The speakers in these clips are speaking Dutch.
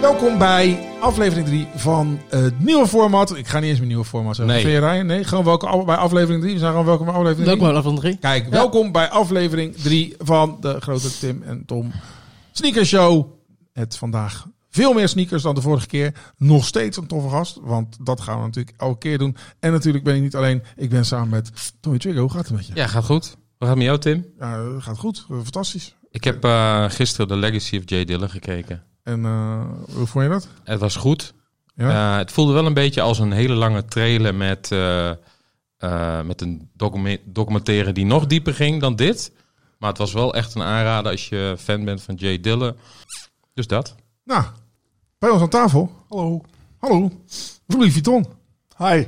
Welkom bij aflevering 3 van eh, het nieuwe format. Ik ga niet eens mijn nieuwe format zeggen. Nee. Vind je, Ryan? Nee, gewoon welkom af- bij aflevering 3. We zijn gewoon welkom bij aflevering 3. Welkom bij aflevering 3. Kijk, welkom bij aflevering 3 van de grote Tim en Tom Sneaker Show. Het vandaag veel meer sneakers dan de vorige keer. Nog steeds een toffe gast, want dat gaan we natuurlijk elke keer doen. En natuurlijk ben ik niet alleen. Ik ben samen met Tommy Trigger. Hoe gaat het met je? Ja, gaat goed. Hoe gaat het met jou, Tim? Ja, gaat goed. Eh, Fantastisch. Ik heb eh, gisteren de Legacy of Jay Diller gekeken. En eh, hoe vond je dat? Het was goed. Ja. Eh, het voelde wel een beetje als een hele lange trailer met, eh, eh, met een docume- documentaire die nog dieper ging dan dit. Maar het was wel echt een aanrader als je fan bent van Jay Diller. Dus dat. Nou, bij ons aan tafel. Hallo. Hallo, Louis Vuitton. Hi.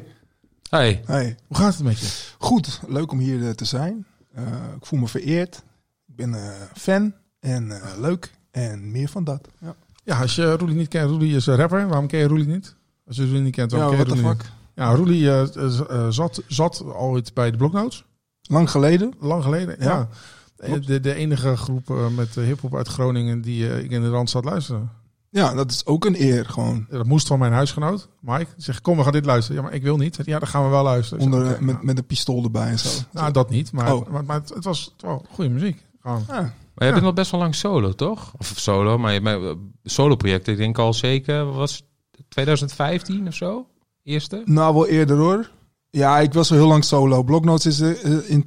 Hey, Hey. Hoe gaat het met je? Goed, leuk om hier eh, te zijn. Eh, ik voel me vereerd. Ik ben eh, fan en eh, leuk en meer van dat. Ja, Ja, als je Roelie niet kent, Roelie is een rapper. Waarom ken je Roelie niet? Als je Roelie niet kent, waarom ken je Roelie niet? Ja, Roelie eh, z- eh, zat, zat ooit bij de Bloknotes, Lang geleden. lang geleden. Ja. Ja, Eh, De, de enige groep eh, met eh, hiphop uit Groningen die eh, ik in de Randstad luisterde. Ja, dat is ook een eer gewoon. Eh, Dat moest van mijn huisgenoot, Mike. Die zegt, kom, we gaan dit luisteren. Ja, maar ik wil niet. Ja, dan gaan we wel luisteren. Ik Onder, zeg, eh, oké, met, nou, met een pistool erbij en zo. nou, dat niet, maar, Oh. maar, maar het, het was wel goede muziek. Gewoon. Ja. maar jij Ja. bent al best wel lang solo, toch? Of solo, maar je bent- solo-project. Ik denk al zeker, wat was het, 2015 of zo? Eerste? Nou, wel eerder hoor. Ja, ik was al heel lang solo. Blocknotes is eh, in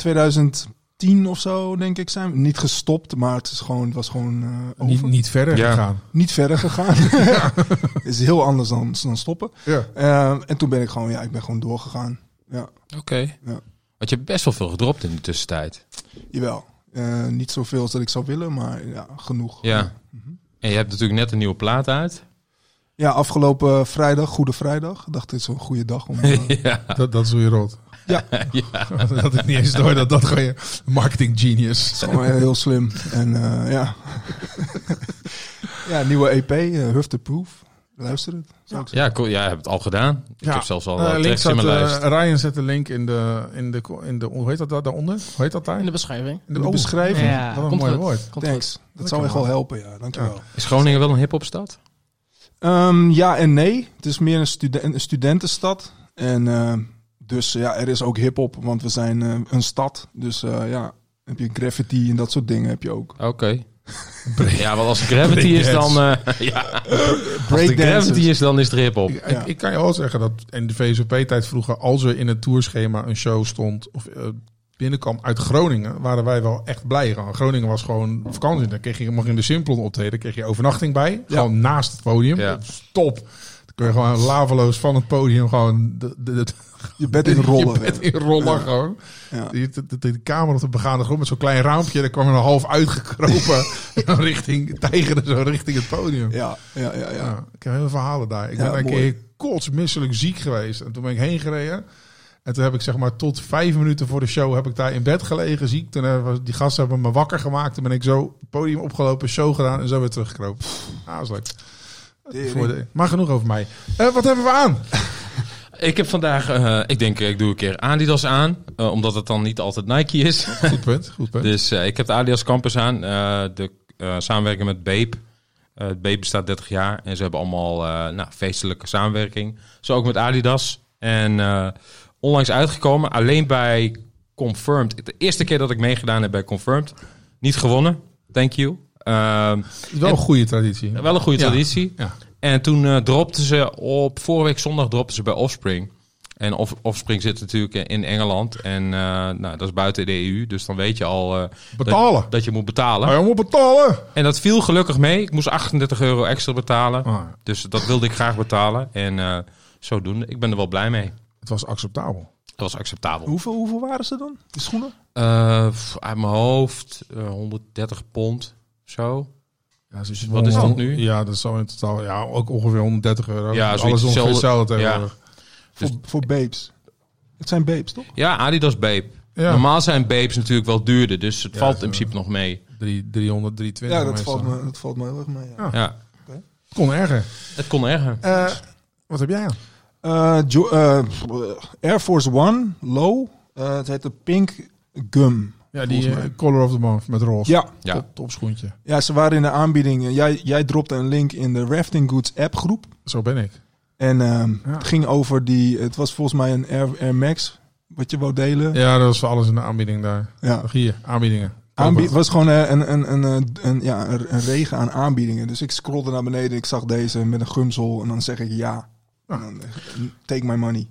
2010 of zo, denk ik, zijn we- Niet gestopt, maar het is gewoon, het was gewoon eh, over. Niet, Niet, niet verder Ja. gegaan. verder gegaan. is heel anders dan, dan stoppen. Ja. Ehm, en toen ben ik gewoon, ja, ik ben gewoon doorgegaan. Oké. Ja. Want je hebt best wel veel gedropt in de tussentijd. Jawel. Eh, niet zoveel als dat ik zou willen, maar ja, genoeg. Ja. Mhm. En je hebt natuurlijk net een nieuwe plaat uit. Ja, afgelopen vrijdag, Goede Vrijdag, dacht dit is wel een goede dag. Om, eh, ja. Dat, dat is hoe je rolt. Ja. Dat had ik niet eens door dat dat gewoon je marketing genius. gewoon heel slim. En eh, ja. ja, nieuwe EP, eh, Huff the Proof. Luister het. zou ik zeggen. Ja, cool. Ja, je hebt het al gedaan. Ik Ja. heb zelfs al Eh, uh, link tracks zat, in mijn eh, lijst. Ryan zet de link in de, in de, ko- in de hoe heet dat daar- daaronder? Hoe heet dat daar? In de beschrijving. In de de beschrijving. beschrijving. Wat een komt mooi goed. woord. Komt goed. Thanks. Dat zou echt wel helpen, ja. Dankjewel. Ehm, Is Groningen wel een hip-hopstad? Ja, en nee. Het is meer een, stude- een studentenstad. En ehm, dus eh, ja, er is ook hip-hop, want we zijn eh, een stad. Dus eh, ja, heb je graffiti en dat soort dingen heb je ook. Oké. Ja, want als het gravity is, dan... eh, ja, als het gravity is, dan is het hip-hop. Ik, Ja. ik, ik kan je wel zeggen dat in de VSOP-tijd vroeger, als er in het tourschema een show stond of eh, binnenkwam uit Groningen, waren wij wel echt blij. Gewoon, Groningen was gewoon vakantie. Dan kreeg je, mag je in de Simplon optreden, kreeg je overnachting bij. Gewoon naast het podium. Ja. Top. Dan kun je gewoon laveloos van het podium gewoon de, de, de, Je bent in rollen. Je bent in rollen gewoon. Ja. Die- De, de, de kamer op de begaande grond met zo'n klein raampje. Daar kwam er een half uitgekropen richting, tijgerde zo richting het podium. Ja. Ja, ja, ja, ja. ik heb heel veel verhalen daar. Ik Ja, ben een mooi. keer kotsmisselijk ziek geweest. En toen ben ik heen gereden. En toen heb ik zeg maar tot vijf minuten voor de show heb ik daar in bed gelegen ziek. Toen hebben die gasten hebben me wakker gemaakt. Toen ben ik zo het podium opgelopen, show gedaan en zo weer teruggekropen. Ah, dat is leuk. Tering. Voor de- Maar genoeg over mij. Eh, wat hebben we aan? Ik heb vandaag... eh, ik denk, ik doe een keer Adidas aan. eh, omdat het dan niet altijd Nike is. Goed punt, goed punt. Dus eh, ik heb de Adidas Campus aan. eh, de eh, samenwerking met Bape. Eh het Bape bestaat 30 jaar. En ze hebben allemaal eh, nou, feestelijke samenwerking. Zo ook met Adidas. En eh, onlangs uitgekomen. Alleen bij Confirmed. De eerste keer dat ik meegedaan heb bij Confirmed. Niet gewonnen. Thank you. Ehm, Wel een goede traditie. wel een goede Ja. traditie. Ja. En toen eh, dropten ze op... Vorige week zondag dropten ze bij Offspring. En Off- Offspring zit natuurlijk eh, in Engeland. En eh, nou, dat is buiten de EU. Dus dan weet je al... eh, Betalen. Dat, dat je moet betalen. Hij moet betalen. En dat viel gelukkig mee. Ik moest 38 euro extra betalen. Ah, Dus dat wilde ik graag betalen. En eh zodoende, ik ben er wel blij mee. het was acceptabel. Dat was acceptabel. Hoeveel, hoeveel waren ze dan? Die schoenen? Eh, pff, uit mijn hoofd eh, 130 pond. Zo. Ja, dus Wat is dat nu? Ja, dat zal in totaal ja, ook ongeveer 130 euro. Ja, alles zoiets ongeveer hetzelfde. hetzelfde tegenwoordig. Voor, voor babes. Het zijn babes, toch? Ja, Adidas Bape. Ja. Normaal zijn Bapes natuurlijk wel duurder. Dus het valt in principe nog mee. Drie- 300, 320 Ja, dat meestal. valt, me, dat valt me heel erg mee. Ja. Ja, Kon erger. het kon erger. Eh, wat heb jij aan? Eh, Jo- eh, Air Force One, low. Eh, het heet de Pink Gum. Ja, volgens die mij. eh, Color of the Month met roze. Ja, Ja. Top, topschoentje. ja, ze waren in de aanbieding. Eh, Jij, jij dropte een link in de Rafting Goods app groep. Zo ben ik. En ehm, Ja. het ging over die... Het was volgens mij een Air, Air Max, wat je wou delen. Ja. Ja, dat was voor alles in de aanbieding daar. Nog hier, aanbiedingen. Aanbie- het was gewoon eh, een, een, een, eh, een, ja, een een regen aan aanbiedingen. Dus ik scrollde naar beneden, ik zag deze met een gumsel. En dan zeg ik ja. En dan, eh, take my money.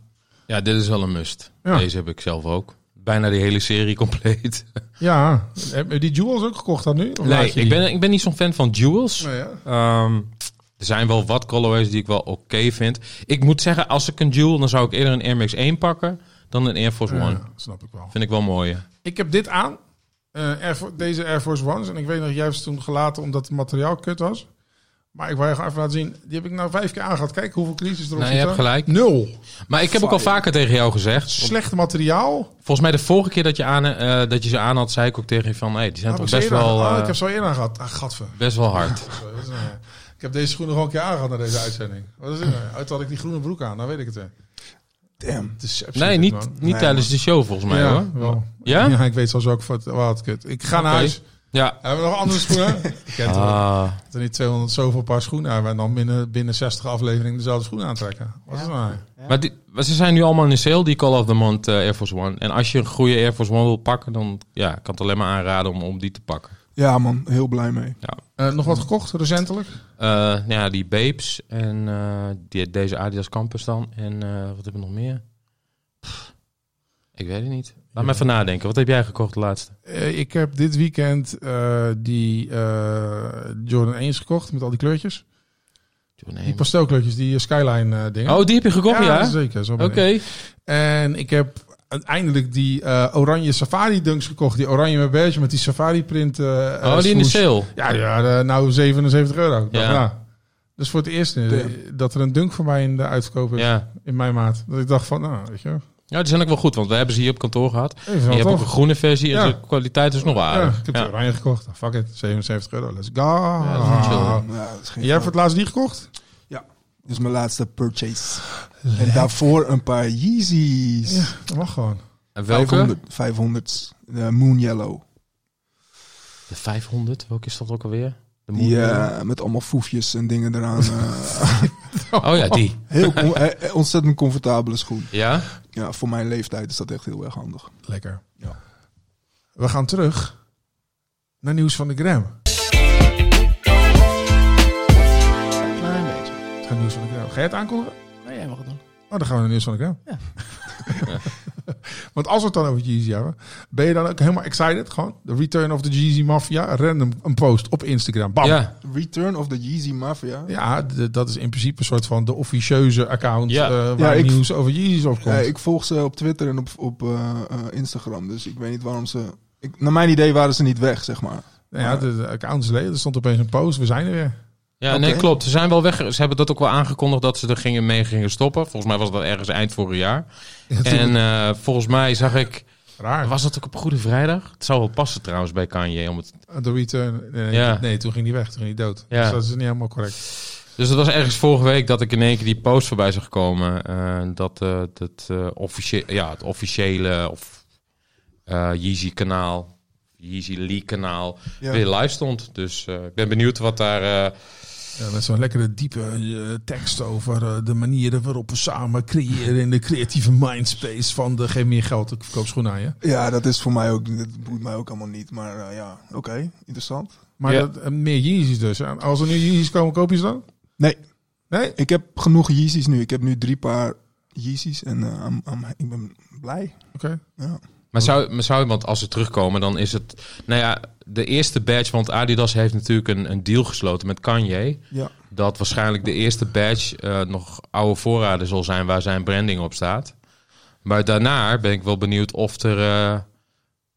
Ja, dit is wel een must. Ja. Deze heb ik zelf ook. Bijna die hele serie compleet. Ja, heb je die Jewels ook gekocht dan nu? Of laat Nee, je die? ik ben, ik ben niet zo'n fan van jewels. Nou ja. Ehm, er zijn wel wat colorways die ik wel oké vind. Ik moet zeggen, als ik een jewel, dan zou ik eerder een Air Max 1 pakken dan een Air Force Ja, One. snap ik wel. Vind ik wel mooi. Ik heb dit aan. eh, Air Fo- deze Air Force Ones. En ik weet nog, juist toen gelaten omdat het materiaal kut was. Maar ik wil je gewoon even laten zien. Die heb ik nou vijf keer aan gehad. Kijk hoeveel crisis erop Nou, je zitten. hebt gelijk. Nul. Maar ik heb ook al vaker tegen jou gezegd. want Slecht materiaal. Volgens mij de vorige keer dat je, aan, eh, dat je ze aan had, zei ik ook tegen je van... Hey, die zijn Heb ik toch ze best eerder wel, aan- oh, eh, ik heb zo eerder aan gehad. Ah, gadver. best wel hard. Sorry, wat is nou weer? Ik heb deze schoenen gewoon een keer aangehad naar deze uitzending. Wat is het nou? Uit had ik die groene broek aan. Nou weet ik het weer. Damn. Het is absoluut Nee, man. niet, niet Nee, tijdens de show volgens mij ja, hoor. wel. Ja? Ja, ik weet zelfs ook wat, wat kut. Ik ga naar Oké. huis. Ja. Hebben we nog andere schoenen? Je kent het. Ah, Dat er niet 200 zoveel paar schoenen hebben en dan binnen, binnen 60 afleveringen dezelfde schoenen aantrekken. Wat is nou? maar, die- maar ze zijn nu allemaal in de sale, die Call of the Month eh, Air Force One. En als je een goede Air Force One wil pakken, dan ja, ik kan het alleen maar aanraden om, om die te pakken. Ja man, heel blij mee. Eh, nog wat gekocht recentelijk? Eh, nou ja, die Babes en eh, die, deze Adidas Campus dan. En eh, wat hebben we nog meer? Pff, ik weet het niet. Laat me even nadenken. Wat heb jij gekocht de laatste? Eh, ik heb dit weekend eh, die eh, Jordan 1's gekocht met al die kleurtjes. Jordan Die één. pastelkleurtjes, die eh, Skyline eh, dingen. Oh, die heb je gekocht, ja? zeker. Zo Oké. Oh, ben ik. En ik heb uiteindelijk die eh, oranje safari dunks gekocht. Die oranje met beige met die safari print. eh, Oh, eh, die in de swoosh. sale. Ja, ja eh, nou 77 euro. Ik dacht, Ja. nou, Dus voor het eerst eh, Damn. dat er een dunk voor mij in de uitverkoop is. Ja. in mijn maat. Dat ik dacht van, nou, weet je, even ja, die zijn ook wel goed, want we hebben ze hier op kantoor gehad. wel je hebt ook toch? een groene versie en Ja. de kwaliteit is nog wel Ja, ik aardig. heb Ja. de oranje gekocht. Nou, Fuck it, 77 euro, let's go. dat is niet chill, Ja, hè. dat is geen Ah. Jij hebt voor het laatst die gekocht? Dat is mijn laatste purchase. En daarvoor een paar Yeezys. Ja, dat mag gewoon. En welke? 500, 500 eh, Moon Yellow. De 500. Welke is dat ook alweer? De Die, moeder. eh, met allemaal foefjes en dingen eraan. eh, Oh ja, die. heel on- eh, ontzettend comfortabele schoen. Ja? Ja, voor mijn leeftijd is dat echt heel erg handig. Lekker. Ja. We gaan terug naar nieuws van de Gram. Klein beetje. Het gaat nieuws van de Gram. Ga je het aankondigen? Nee, jij mag het doen. Oh, dan gaan we naar nieuws van de Gram. Ja. Want als we het dan over Jeezy hebben, ben je dan ook helemaal excited? Gewoon, de return of the Jeezy Mafia, random een post op Instagram. Bam! Ja. Return of the Yeezy Mafia. Ja, d- dat is in principe een soort van de officieuze account Ja. eh, waar Ja, ik- nieuws over Yeezys op komt. Ja, Eh, ik volg ze op Twitter en op, op eh, eh, Instagram. Dus ik weet niet waarom ze... Ik, naar mijn idee waren ze niet weg, zeg maar. Nou ja, de, de account is leeg. Er stond opeens een post. We zijn er weer. Ja, Oké. nee, klopt. Ze zijn wel weg. Ze hebben dat ook wel aangekondigd dat ze er gingen, mee gingen stoppen. Volgens mij was dat ergens eind vorig jaar. En eh, volgens mij zag ik... Raar. Was dat ook op Goede Vrijdag? Het zou wel passen trouwens bij Kanye. Om het, De return. Nee, nee, Ja. nee, toen ging die weg. Toen ging die dood. Ja. Dus dat is niet helemaal correct. dus dat was ergens vorige week dat ik in één keer die post voorbij zag komen. eh, dat eh, dat, eh, officie- ja, het officiële of eh, Yeezy kanaal, Yeezy Lee kanaal, Ja. weer live stond. Dus eh, ik ben benieuwd wat daar... eh, Ja, met zo'n lekkere diepe eh, tekst over eh, de manieren waarop we samen creëren in de creatieve mindspace van de geef meer geld, ik verkoop schoenen aan je. Ja, dat is voor mij ook... Dat boeit mij ook allemaal niet. Maar eh, ja, oké. interessant. Maar Ja. dat, eh, meer Yeezys dus. En Als er nu Yeezys komen, koop je ze dan? Nee, Nee? Ik heb genoeg Yeezys nu. Ik heb nu drie paar Yeezys en eh, I'm- I'm- ik ben blij. Oké. Ja. Maar zou, maar zou, want als ze terugkomen, dan is het... Nou ja, de eerste badge, want Adidas heeft natuurlijk een, een deal gesloten met Kanye. Ja. Dat waarschijnlijk de eerste badge eh, nog oude voorraden zal zijn waar zijn branding op staat. Maar daarna ben ik wel benieuwd of er... eh,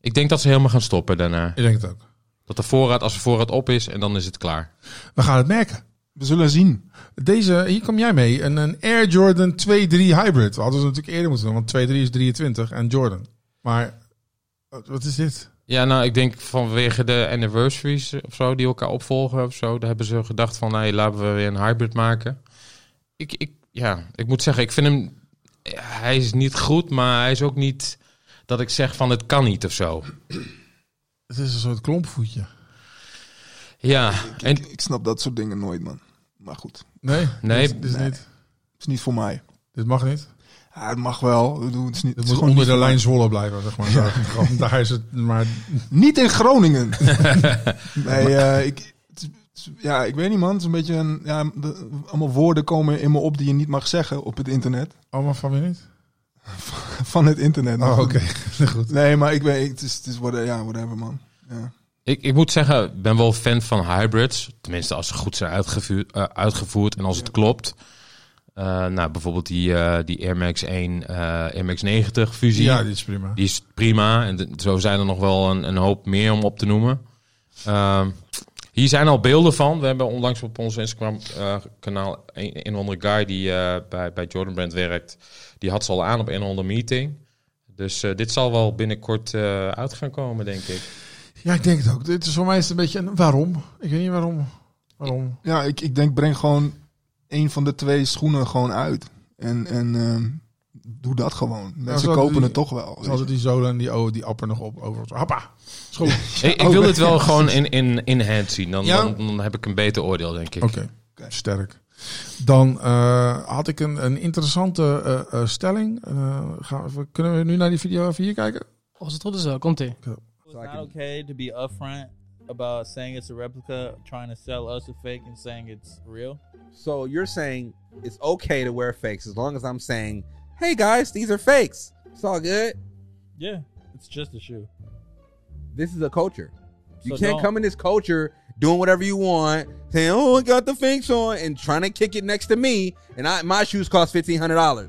ik denk dat ze helemaal gaan stoppen daarna. Ik denk het ook. Dat de voorraad, als de voorraad op is, en dan is het klaar. We gaan het merken. We zullen zien. Deze, hier kom jij mee. Een, een Air Jordan 2-3 Hybrid. We hadden ze natuurlijk eerder moeten doen, want 2-3 is 23 en Jordan. Maar eh, wat is dit? Ja, nou, ik denk vanwege de anniversaries of zo, die elkaar opvolgen of zo, daar hebben ze gedacht van, nee, laten we weer een hybrid maken. Ik, ik, ja, ik moet zeggen, ik vind hem, hij is niet goed, maar hij is ook niet dat ik zeg van, het kan niet of zo. Het is een soort klompvoetje. Ja, en Ik, ik snap dat soort dingen nooit, man. Maar goed, Nee, Nee. dit, dit is Nee. niet. het is niet voor mij. Dit mag niet. Ja, het mag wel. Ik bedoel, Het is niet, Dit het is moet gewoon onder de niet voor lijn Zwolle blijven, zeg maar. Daar, gewoon, daar is het maar... mij. Niet in Groningen. nee, eh, ik, het is- het is- ja, ik weet niet, man. Het is een beetje een, ja, de- allemaal woorden komen in me op die je niet mag zeggen op het internet. Allemaal Oh, van weer niet? Van het internet. Oh, oké. Goed. Nee, maar ik weet, het is, het is whatever, ja, whatever, man. Ja. ik, ik moet zeggen, ik ben wel fan van hybrids. Tenminste, als ze goed zijn uitgevuurd, eh, uitgevoerd en als het klopt. Eh, nou, bijvoorbeeld die, eh, die Air Max 1, eh Air Max 90 fusie. Ja, dit is prima. Die is prima. En d- zo zijn er nog wel een, een hoop meer om op te noemen. Ehm, hier zijn al beelden van. We hebben onlangs op ons Instagram-kanaal een, een of andere guy die eh, bij, bij Jordan Brand werkt. Die had ze al aan op een of andere meeting. Dus eh, dit zal wel binnenkort eh, uit gaan komen, denk ik. Ja, ik denk het ook. Dit is voor mij is het een beetje een waarom. Ik weet niet waarom. Waarom? Ja, ik, ik denk breng gewoon een van de twee schoenen gewoon uit. En, en ehm, doe dat gewoon. Mensen zouden kopen die- het toch wel. Ze hadden die zolen en die, oh, die apper nog op over. Hoppa! Is goed. Oké. ik, ik wil dit wel gewoon in, in, in hand zien. Dan, Ja. dan, dan heb ik een beter oordeel, denk ik. Oké. Sterk. Dan eh, had ik een, een interessante eh, eh, stelling. Eh, gaan we, kunnen we nu naar die video even hier kijken? Als het goed eh, is wel, komt ie. It's not okay to be upfront about saying it's a replica, trying to sell us a fake, and saying it's real. So you're saying it's okay to wear fakes as long as I'm saying, hey guys, these are fakes. It's all good. Yeah, it's just a shoe. This is a culture. You So can't don't- come in this culture doing whatever you want, saying, oh, I got the fakes on, and trying to kick it next to me, and I, my shoes cost $1,500. Yeah,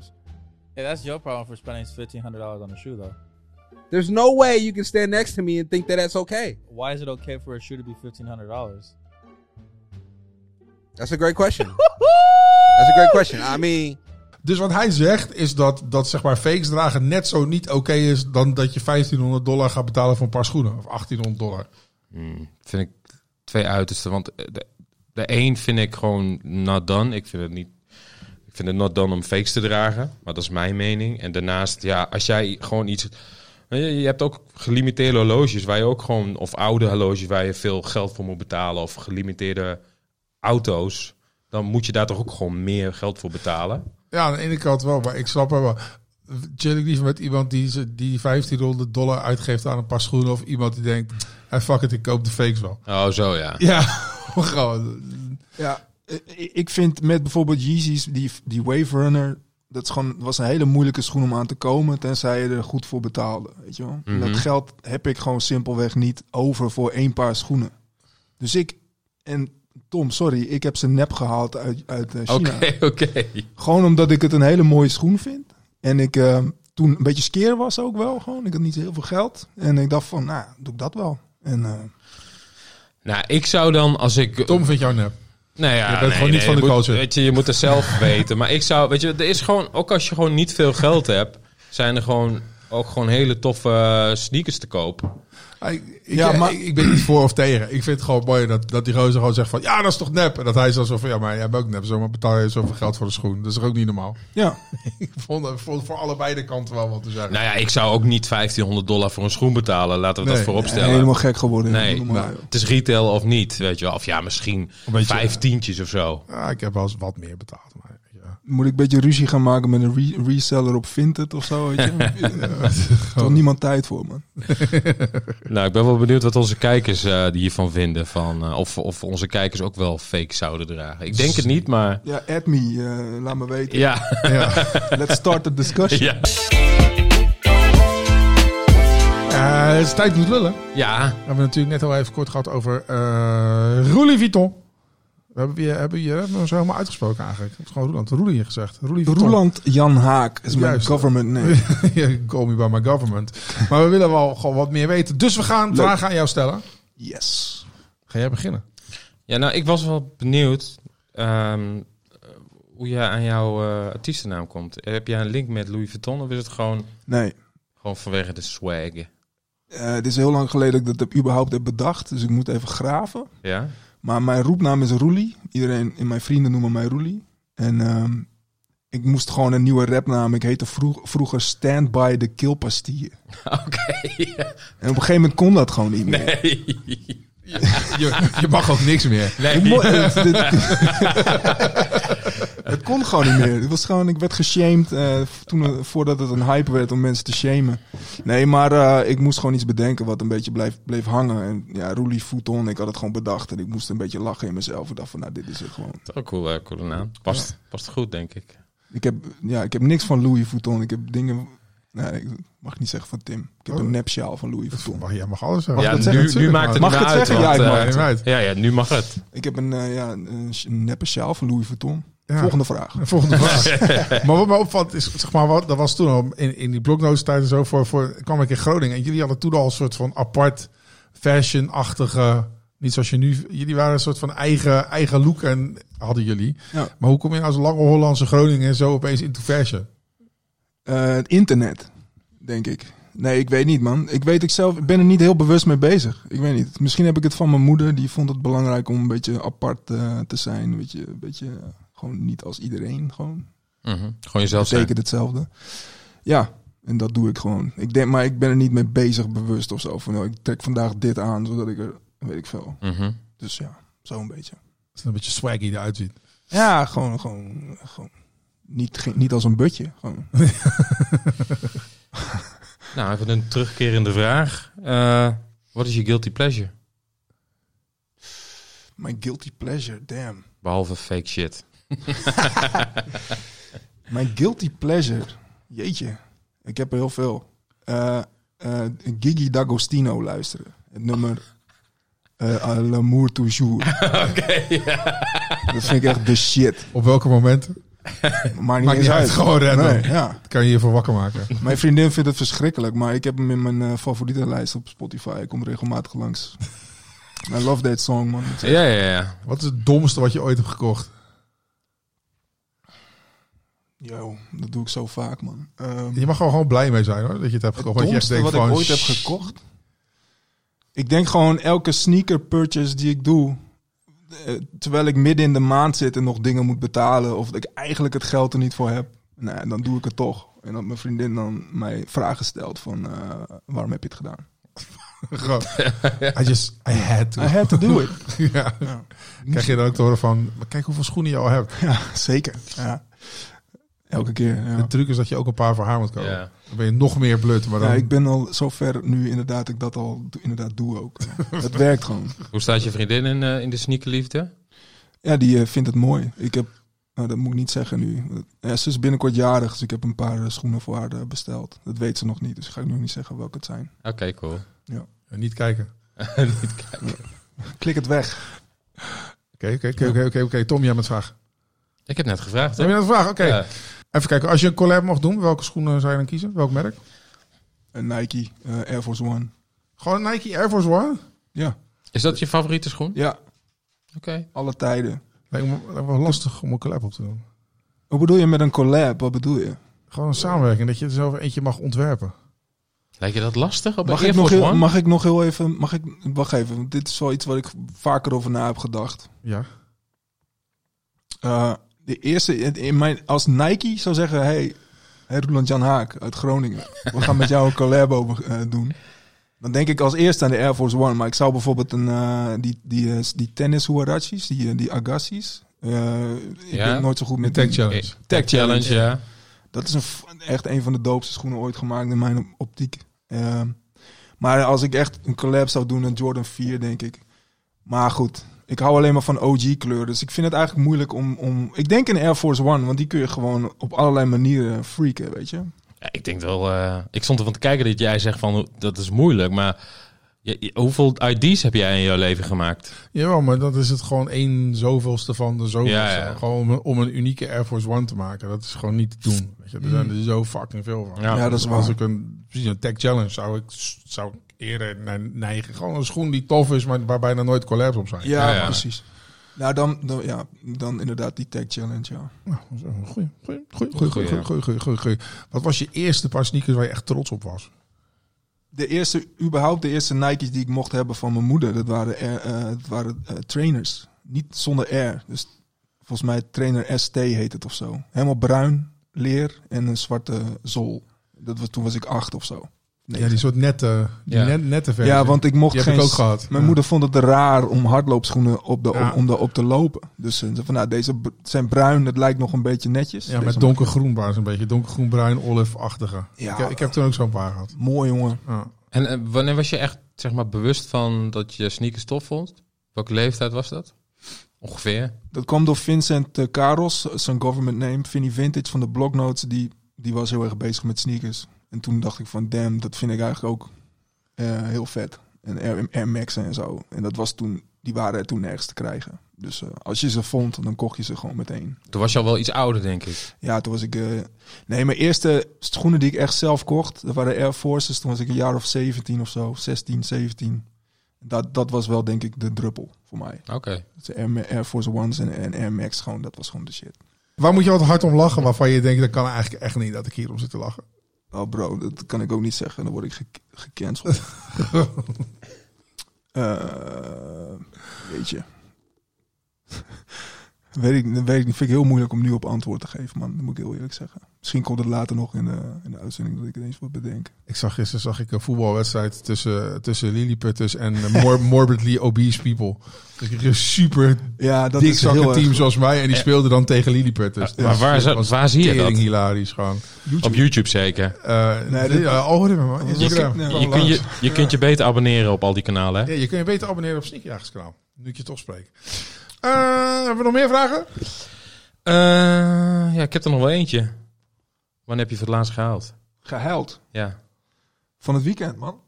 that's your problem for spending fifteen hundred dollars on a shoe, though. There's no way you can stand next to me and think that that's okay. Why is it okay for a shoe to be fifteen hundred dollars? That's a great question. that's a great question. I mean, Dus wat hij zegt is dat, dat zeg maar fakes dragen net zo niet oké is dan dat je 1500 dollar gaat betalen voor een paar schoenen. Of 1800 dollar. Hmm, vind ik twee uitersten. Want eh, de, de een vind ik gewoon not done. Ik vind het niet. Ik vind het not done om fakes te dragen. Maar dat is mijn mening. En daarnaast, ja, als jij gewoon iets. Je je hebt ook gelimiteerde horloges waar je ook gewoon. Of oude horloges waar je veel geld voor moet betalen. Of gelimiteerde auto's. Dan moet je daar toch ook gewoon meer geld voor betalen. Ja, aan de ene kant wel, maar ik snap hem wel. Chill ik liever met iemand die, ze- die 1500 dollar uitgeeft aan een paar schoenen. Of iemand die denkt, hey, fuck it, ik koop de fakes wel. Oh, zo ja. Ja, gewoon. Ja, i- i- Eh, ik vind met bijvoorbeeld Yeezys, die, die Wave Runner, dat is gewoon, was een hele moeilijke schoen om aan te komen, tenzij je er goed voor betaalde. Weet je wel? En Mhm. Dat geld heb ik gewoon simpelweg niet over voor één paar schoenen. Dus ik, en Tom, sorry, ik heb ze nep gehaald uit, uit eh, China. Oké, oké. Gewoon omdat ik het een hele mooie schoen vind. En ik eh, toen een beetje skeer was ook wel gewoon. Ik had niet heel veel geld. En ik dacht van, nou, doe ik dat wel. En eh, Nou, ik zou dan als ik. Tom vindt jou nep. Nou ja, Je bent gewoon niet van de je moet- culture. Weet je, je moet het zelf weten. Maar ik zou, weet je, er is gewoon, ook als je gewoon niet veel geld hebt, zijn er gewoon ook gewoon hele toffe eh, sneakers te koop. Ah, Ik, ik- Ja, maar- ik, ik ben niet voor of tegen. Ik vind het gewoon mooi dat, dat die gozer gewoon zegt van... Ja, dat is toch nep? En dat hij zo van... Ja, maar jij bent ook nep. Zomaar betaal je zoveel geld voor de schoen. Dat is toch ook niet normaal? ja, Ik vond, ik vond voor allebei de kanten wel wat te zeggen. Nou ja, ik zou ook niet 1500 dollar voor een schoen betalen. Laten we Nee. dat voorop stellen. helemaal gek geworden. Nee, nou, Doe maar. het is retail of niet, weet je wel. Of ja, misschien beetje, vijf tientjes of zo. Ah, ik heb wel eens wat meer betaald. Maar, ja. Moet ik een beetje ruzie gaan maken met een re- reseller op Vinted of zo? Weet je? Toch niemand tijd voor, man. Nou, ik ben wel benieuwd wat onze kijkers eh, hiervan vinden. Van, eh, of, of onze kijkers ook wel fake zouden dragen. Ik denk het niet, maar Ja, add me. eh, laat me weten. ja. ja. Let's start the discussion. ja. Eh, het is tijd moet lullen. ja. We hebben natuurlijk net al even kort gehad over eh Roelie Vuitton. We hebben, we, hebben, we hebben hem zo helemaal uitgesproken eigenlijk. Ik heb gewoon Roeland. Roelie hier gezegd. Roelie Vuitton. Roeland Jan Haak is mijn Juist. government name. Ja, Call me by my government. Maar we willen wel gewoon wat meer weten. Dus we gaan vragen aan jou stellen. Yes. Ga jij beginnen? Ja, nou, ik was wel benieuwd ehm, hoe jij aan jouw eh, artiestennaam komt. Heb jij een link met Louis Vuitton of is het gewoon, Nee. gewoon vanwege de swag? eh, het is heel lang geleden dat ik dat überhaupt heb bedacht. Dus ik moet even graven. Ja? Maar mijn roepnaam is Roelie. Iedereen in mijn vrienden noemen mij Roelie. En ehm, Ik moest gewoon een nieuwe rapnaam. Ik heette vroeg, vroeger Stand by the Kill Pastille. Oké. En op een gegeven moment kon dat gewoon niet meer. Je, je mag ook niks meer. Het, mo- het- het- het kon gewoon niet meer. Het was gewoon, ik werd geshamed eh, toen, eh, voordat het een hype werd om mensen te shamen. Nee, maar eh, ik moest gewoon iets bedenken wat een beetje blijf, bleef hangen. En ja, Roelie Futon, ik had het gewoon bedacht. En ik moest een beetje lachen in mezelf. Ik dacht van, nou, dit is het gewoon. Ook cool, eh, coole naam. Past, past goed, denk ik. Ik heb, ja, ik heb niks van Louis Vuitton. Ik heb dingen... Nee, ik mag niet zeggen van Tim. Ik heb Oh. een nepsjaal van Louis Vuitton. Mag, jij mag alles zeggen. ja, Mag nu, ik dat zeggen? nu Natuurlijk, maakt het Mag niet ik meer uit. het zeggen? want, Ja, ik eh, mag het. Uit. ja, ja, nu mag het. Ik heb een, eh, ja, een sh- neppe sjaal van Louis Vuitton. Ja. Volgende vraag. Volgende vraag. maar wat mij opvalt is, zeg maar, wat, dat was toen al in, in die bloknotentijd en zo, voor, voor, kwam ik in Groningen. En jullie hadden toen al een soort van apart fashion-achtige, niet zoals je nu, jullie waren een soort van eigen, eigen look en hadden jullie. Ja. Maar hoe kom je nou als lange Hollandse Groningen zo opeens into fashion? Eh, het internet, denk ik. Nee, ik weet niet, man. Ik weet ik zelf, ik ben er niet heel bewust mee bezig. Ik weet niet. Misschien heb ik het van mijn moeder. Die vond het belangrijk om een beetje apart eh, te zijn. Weet je, een beetje eh, gewoon niet als iedereen. Gewoon Mhm. Gewoon jezelf zijn. betekent hetzelfde. Ja, en dat doe ik gewoon. Ik denk, maar ik ben er niet mee bezig bewust of zo. Van, oh, ik trek vandaag dit aan, zodat ik er, weet ik veel. Mhm. Dus ja, zo'n beetje. Dat is een beetje swaggy eruit ziet. Ja, gewoon, gewoon, gewoon. Niet, geen- niet als een butje. Gewoon. Nou, even een terugkerende vraag. Eh, wat is je guilty pleasure? My guilty pleasure, damn. Behalve fake shit. Mijn guilty pleasure. Jeetje, ik heb er heel veel. Eh, eh, Gigi D'Agostino luisteren. Het nummer eh à L'amour toujours. Dat vind ik echt de shit. Op welke momenten Maar Maakt niet niet uit, uit. gewoon redden. Nee, ja. kan je hiervoor wakker maken? Mijn vriendin vindt het verschrikkelijk, maar ik heb hem in mijn eh, favoriete lijst op Spotify. Ik kom regelmatig langs. I love that song, man. Ja, ja, ja. Wat is het domste wat je ooit hebt gekocht? Yo, dat doe ik zo vaak, man. Ehm, Je mag gewoon, gewoon blij mee zijn hoor, dat je het hebt gekocht. Het want je echt domste denkt wat ik van, ooit heb "Shh." gekocht. Ik denk gewoon elke sneaker purchase die ik doe. eh, Terwijl ik midden in de maand zit en nog dingen moet betalen. Of dat ik eigenlijk het geld er niet voor heb. Nou, dan doe ik het toch. En dat mijn vriendin dan mij vragen stelt van eh, waarom heb je het gedaan? Gewoon, I just, I had to. I had to do it. Ja. Ja. Krijg je dan ook te horen van, maar kijk hoeveel schoenen je al hebt. ja, zeker. Ja. Elke keer. Ja. De truc is dat je ook een paar voor haar moet kopen. Ja. Dan ben je nog meer blut. Maar dan, Ja, ik ben al zo ver nu inderdaad, ik dat al do- inderdaad doe ook. Het werkt gewoon. Hoe staat je vriendin in, eh, in de sneakerliefde? Ja, die eh, vindt het mooi. Ik heb, nou, dat moet ik niet zeggen nu. Ja, ze is binnenkort jarig, dus ik heb een paar eh, schoenen voor haar eh, besteld. Dat weet ze nog niet, dus ga ik nu niet zeggen welke het zijn. Oké, cool. En Eh, niet kijken. Oké, Klik het weg. oké, oké, oké, oké, oké. Tom, jij hebt een vraag. Ik heb net gevraagd. Hè? Heb je nog een vraag? Oké. Oh, Ja. Even kijken. Als je een collab mag doen, welke schoenen zou je dan kiezen? Welk merk? Een Nike eh, Air Force One. Gewoon een Nike Air Force One? Ja, Is dat je favoriete schoen? ja, Oké. alle tijden. Lijkt me lijkt me wel lastig om een collab op te doen. Wat bedoel je met een collab? Wat bedoel je? Gewoon een samenwerking, dat je er zelf eentje mag ontwerpen. Lijkt je dat lastig op Mag een ik, Air nog Force heel, One? mag ik nog heel even... Mag ik, wacht even, want dit is wel iets waar ik vaker over na heb gedacht. Ja. Eh, de eerste, in- in mijn, als Nike zou zeggen, hey, hey Roland Jan Haak uit Groningen, we gaan met jou een collab over, eh, doen. Dan denk ik als eerste aan de Air Force One, maar ik zou bijvoorbeeld een, eh, die, die, eh, die tennis huarachis, die, eh, die agassis. eh, ik Ja. ben nooit zo goed De met Tech die- Challenge. Eh, Tech Challenge. Challenge, ja. Dat is een, f- echt een van de doopste schoenen ooit gemaakt in mijn op- optiek. Ehm, maar als ik echt een collab zou doen, een Jordan 4, denk ik. Maar goed, ik hou alleen maar van OG-kleur. Dus ik vind het eigenlijk moeilijk om, om... Ik denk een Air Force One, want die kun je gewoon op allerlei manieren freaken, weet je. Ja, ik denk wel. eh, ik stond ervan te kijken dat jij zegt van dat is moeilijk, maar je- je- hoeveel ID's heb jij in jouw leven gemaakt? Jawel, maar dat is het gewoon één zoveelste van de zoveelste. Ja, ja. Gewoon om, een- om een unieke Air Force One te maken. Dat is gewoon niet te doen. Weet je. Er zijn er zo fucking veel van. Ja, Mm. Ja, dat is Als waar. ik een, precies een tech challenge zou ik, zou ik eerder naar neigen. Gewoon een schoen die tof is, maar waar bijna nooit collabs op zijn. Ja, Ja, ja. precies. Nou, dan, dan, ja, dan inderdaad die Tech Challenge, ja. Nou, zo, Goeie, goeie, goeie, goeie, goeie, goeie, goeie, goeie, goeie. Wat was je eerste paar sneakers waar je echt trots op was? De eerste, überhaupt de eerste Nike's die ik mocht hebben van mijn moeder, dat waren, Air- eh, dat waren eh, trainers. Niet zonder Air. Dus Volgens mij trainer ST heet het of zo. Helemaal bruin, leer en een zwarte zool. Dat was, toen was ik acht of zo. Ja, die soort nette, die Ja. net, nette versie. Ja, want ik mocht Die heb geen... ik ook gehad. Mijn Ja. moeder vond het raar om hardloopschoenen op de, Ja. om, om de, op te lopen. Dus ze zei van, nou, deze b- zijn bruin, dat lijkt nog een beetje netjes. Ja, Deze met donkergroen waren ze een beetje. Donkergroen-bruin, olive-achtige. Ja. Ik, heb- ik heb toen ook zo'n paar gehad. Mooi, jongen. Ja. En eh, wanneer was je echt zeg maar, bewust van dat je sneakers tof vond? Welke leeftijd was dat? Ongeveer. Dat kwam door Vincent eh, Karos, zijn government name, Vinnie Vintage van de Blocknotes. Die, die was heel erg bezig met sneakers. En toen dacht ik van, damn, dat vind ik eigenlijk ook eh, heel vet. En Air, Air Max'en en zo. En dat was toen, die waren er toen nergens te krijgen. Dus eh, als je ze vond, dan kocht je ze gewoon meteen. Toen was je al wel iets ouder, denk ik. Ja, toen was ik... eh, nee, mijn eerste schoenen die ik echt zelf kocht, dat waren Air Forces. Toen was ik een jaar of 17 of zo, 16, 17. Dat, dat was wel, denk ik, de druppel voor mij. Oké. Dus Air, Air Force Ones en, en Air Max, gewoon, dat was gewoon de shit. Waar moet je altijd hard om lachen waarvan je denkt, dat kan eigenlijk echt niet dat ik hierom zit te lachen. Oh bro, dat kan ik ook niet zeggen. Dan word ik ge gecanceld. Eh, weet je. weet, ik, weet ik niet. Vind ik heel moeilijk om nu op antwoord te geven, man. Dat moet ik heel eerlijk zeggen. Misschien komt het later nog in de, in de uitzending dat ik ineens wat bedenk. Ik zag gisteren zag ik een voetbalwedstrijd tussen, tussen Lilliputters en eh, mor- morbidly obese people. Dus ik een super Ja, dat is heel dikzakken erg- team zoals mij en die speelden dan tegen Lilliputters. maar waar, is dat- waar zie je dat? Tering hilarisch gewoon. Op YouTube zeker. Eh Nee, dit- dit- eh, algoritme man. Je Instagram. kunt- Kom Je, kunt langs. je, je kunt je beter abonneren op al die kanalen. Hè? Ja, je kunt je beter abonneren op Sneakjagerskanaal. Nu ik je toch spreek. Eh, hebben we nog meer vragen? Eh, ja, ik heb er nog wel eentje. Wanneer heb je voor het laatst gehaald? gehuild. Ja. Van het weekend, man.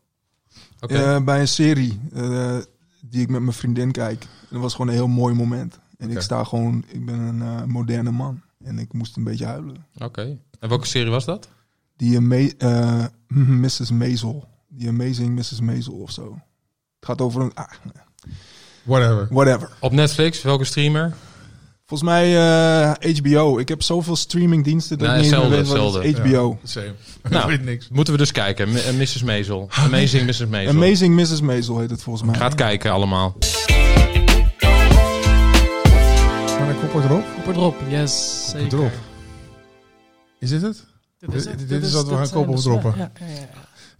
Oké. Eh, bij een serie eh, die ik met mijn vriendin kijk. En dat was gewoon een heel mooi moment. En Oké. ik sta gewoon, ik ben een eh, moderne man. En ik moest een beetje huilen. Oké. En welke serie was dat? Die eh, me- eh, Mrs. Maisel. Die Amazing Mrs. Maisel of zo. Het gaat over een... ah, Whatever. whatever. Op Netflix? Welke streamer? Volgens mij eh, HBO. Ik heb zoveel streamingdiensten dat Nee, ik niet eens meer weet hetzelfde, wat het is. hetzelfde. HBO. Same. Nou. Ik weet niks. Moeten we dus kijken. M- eh, Mrs. Maisel. Amazing Mrs. Maisel. Amazing Mrs. Maisel heet het volgens mij. Gaat kijken allemaal. Maar een kopper erop. Kop erop, yes. Zeker. Kopper erop. Is dit het? Dit Dit- dit is wat we dit gaan kopen zijn de- of droppen. Ja, ja, ja.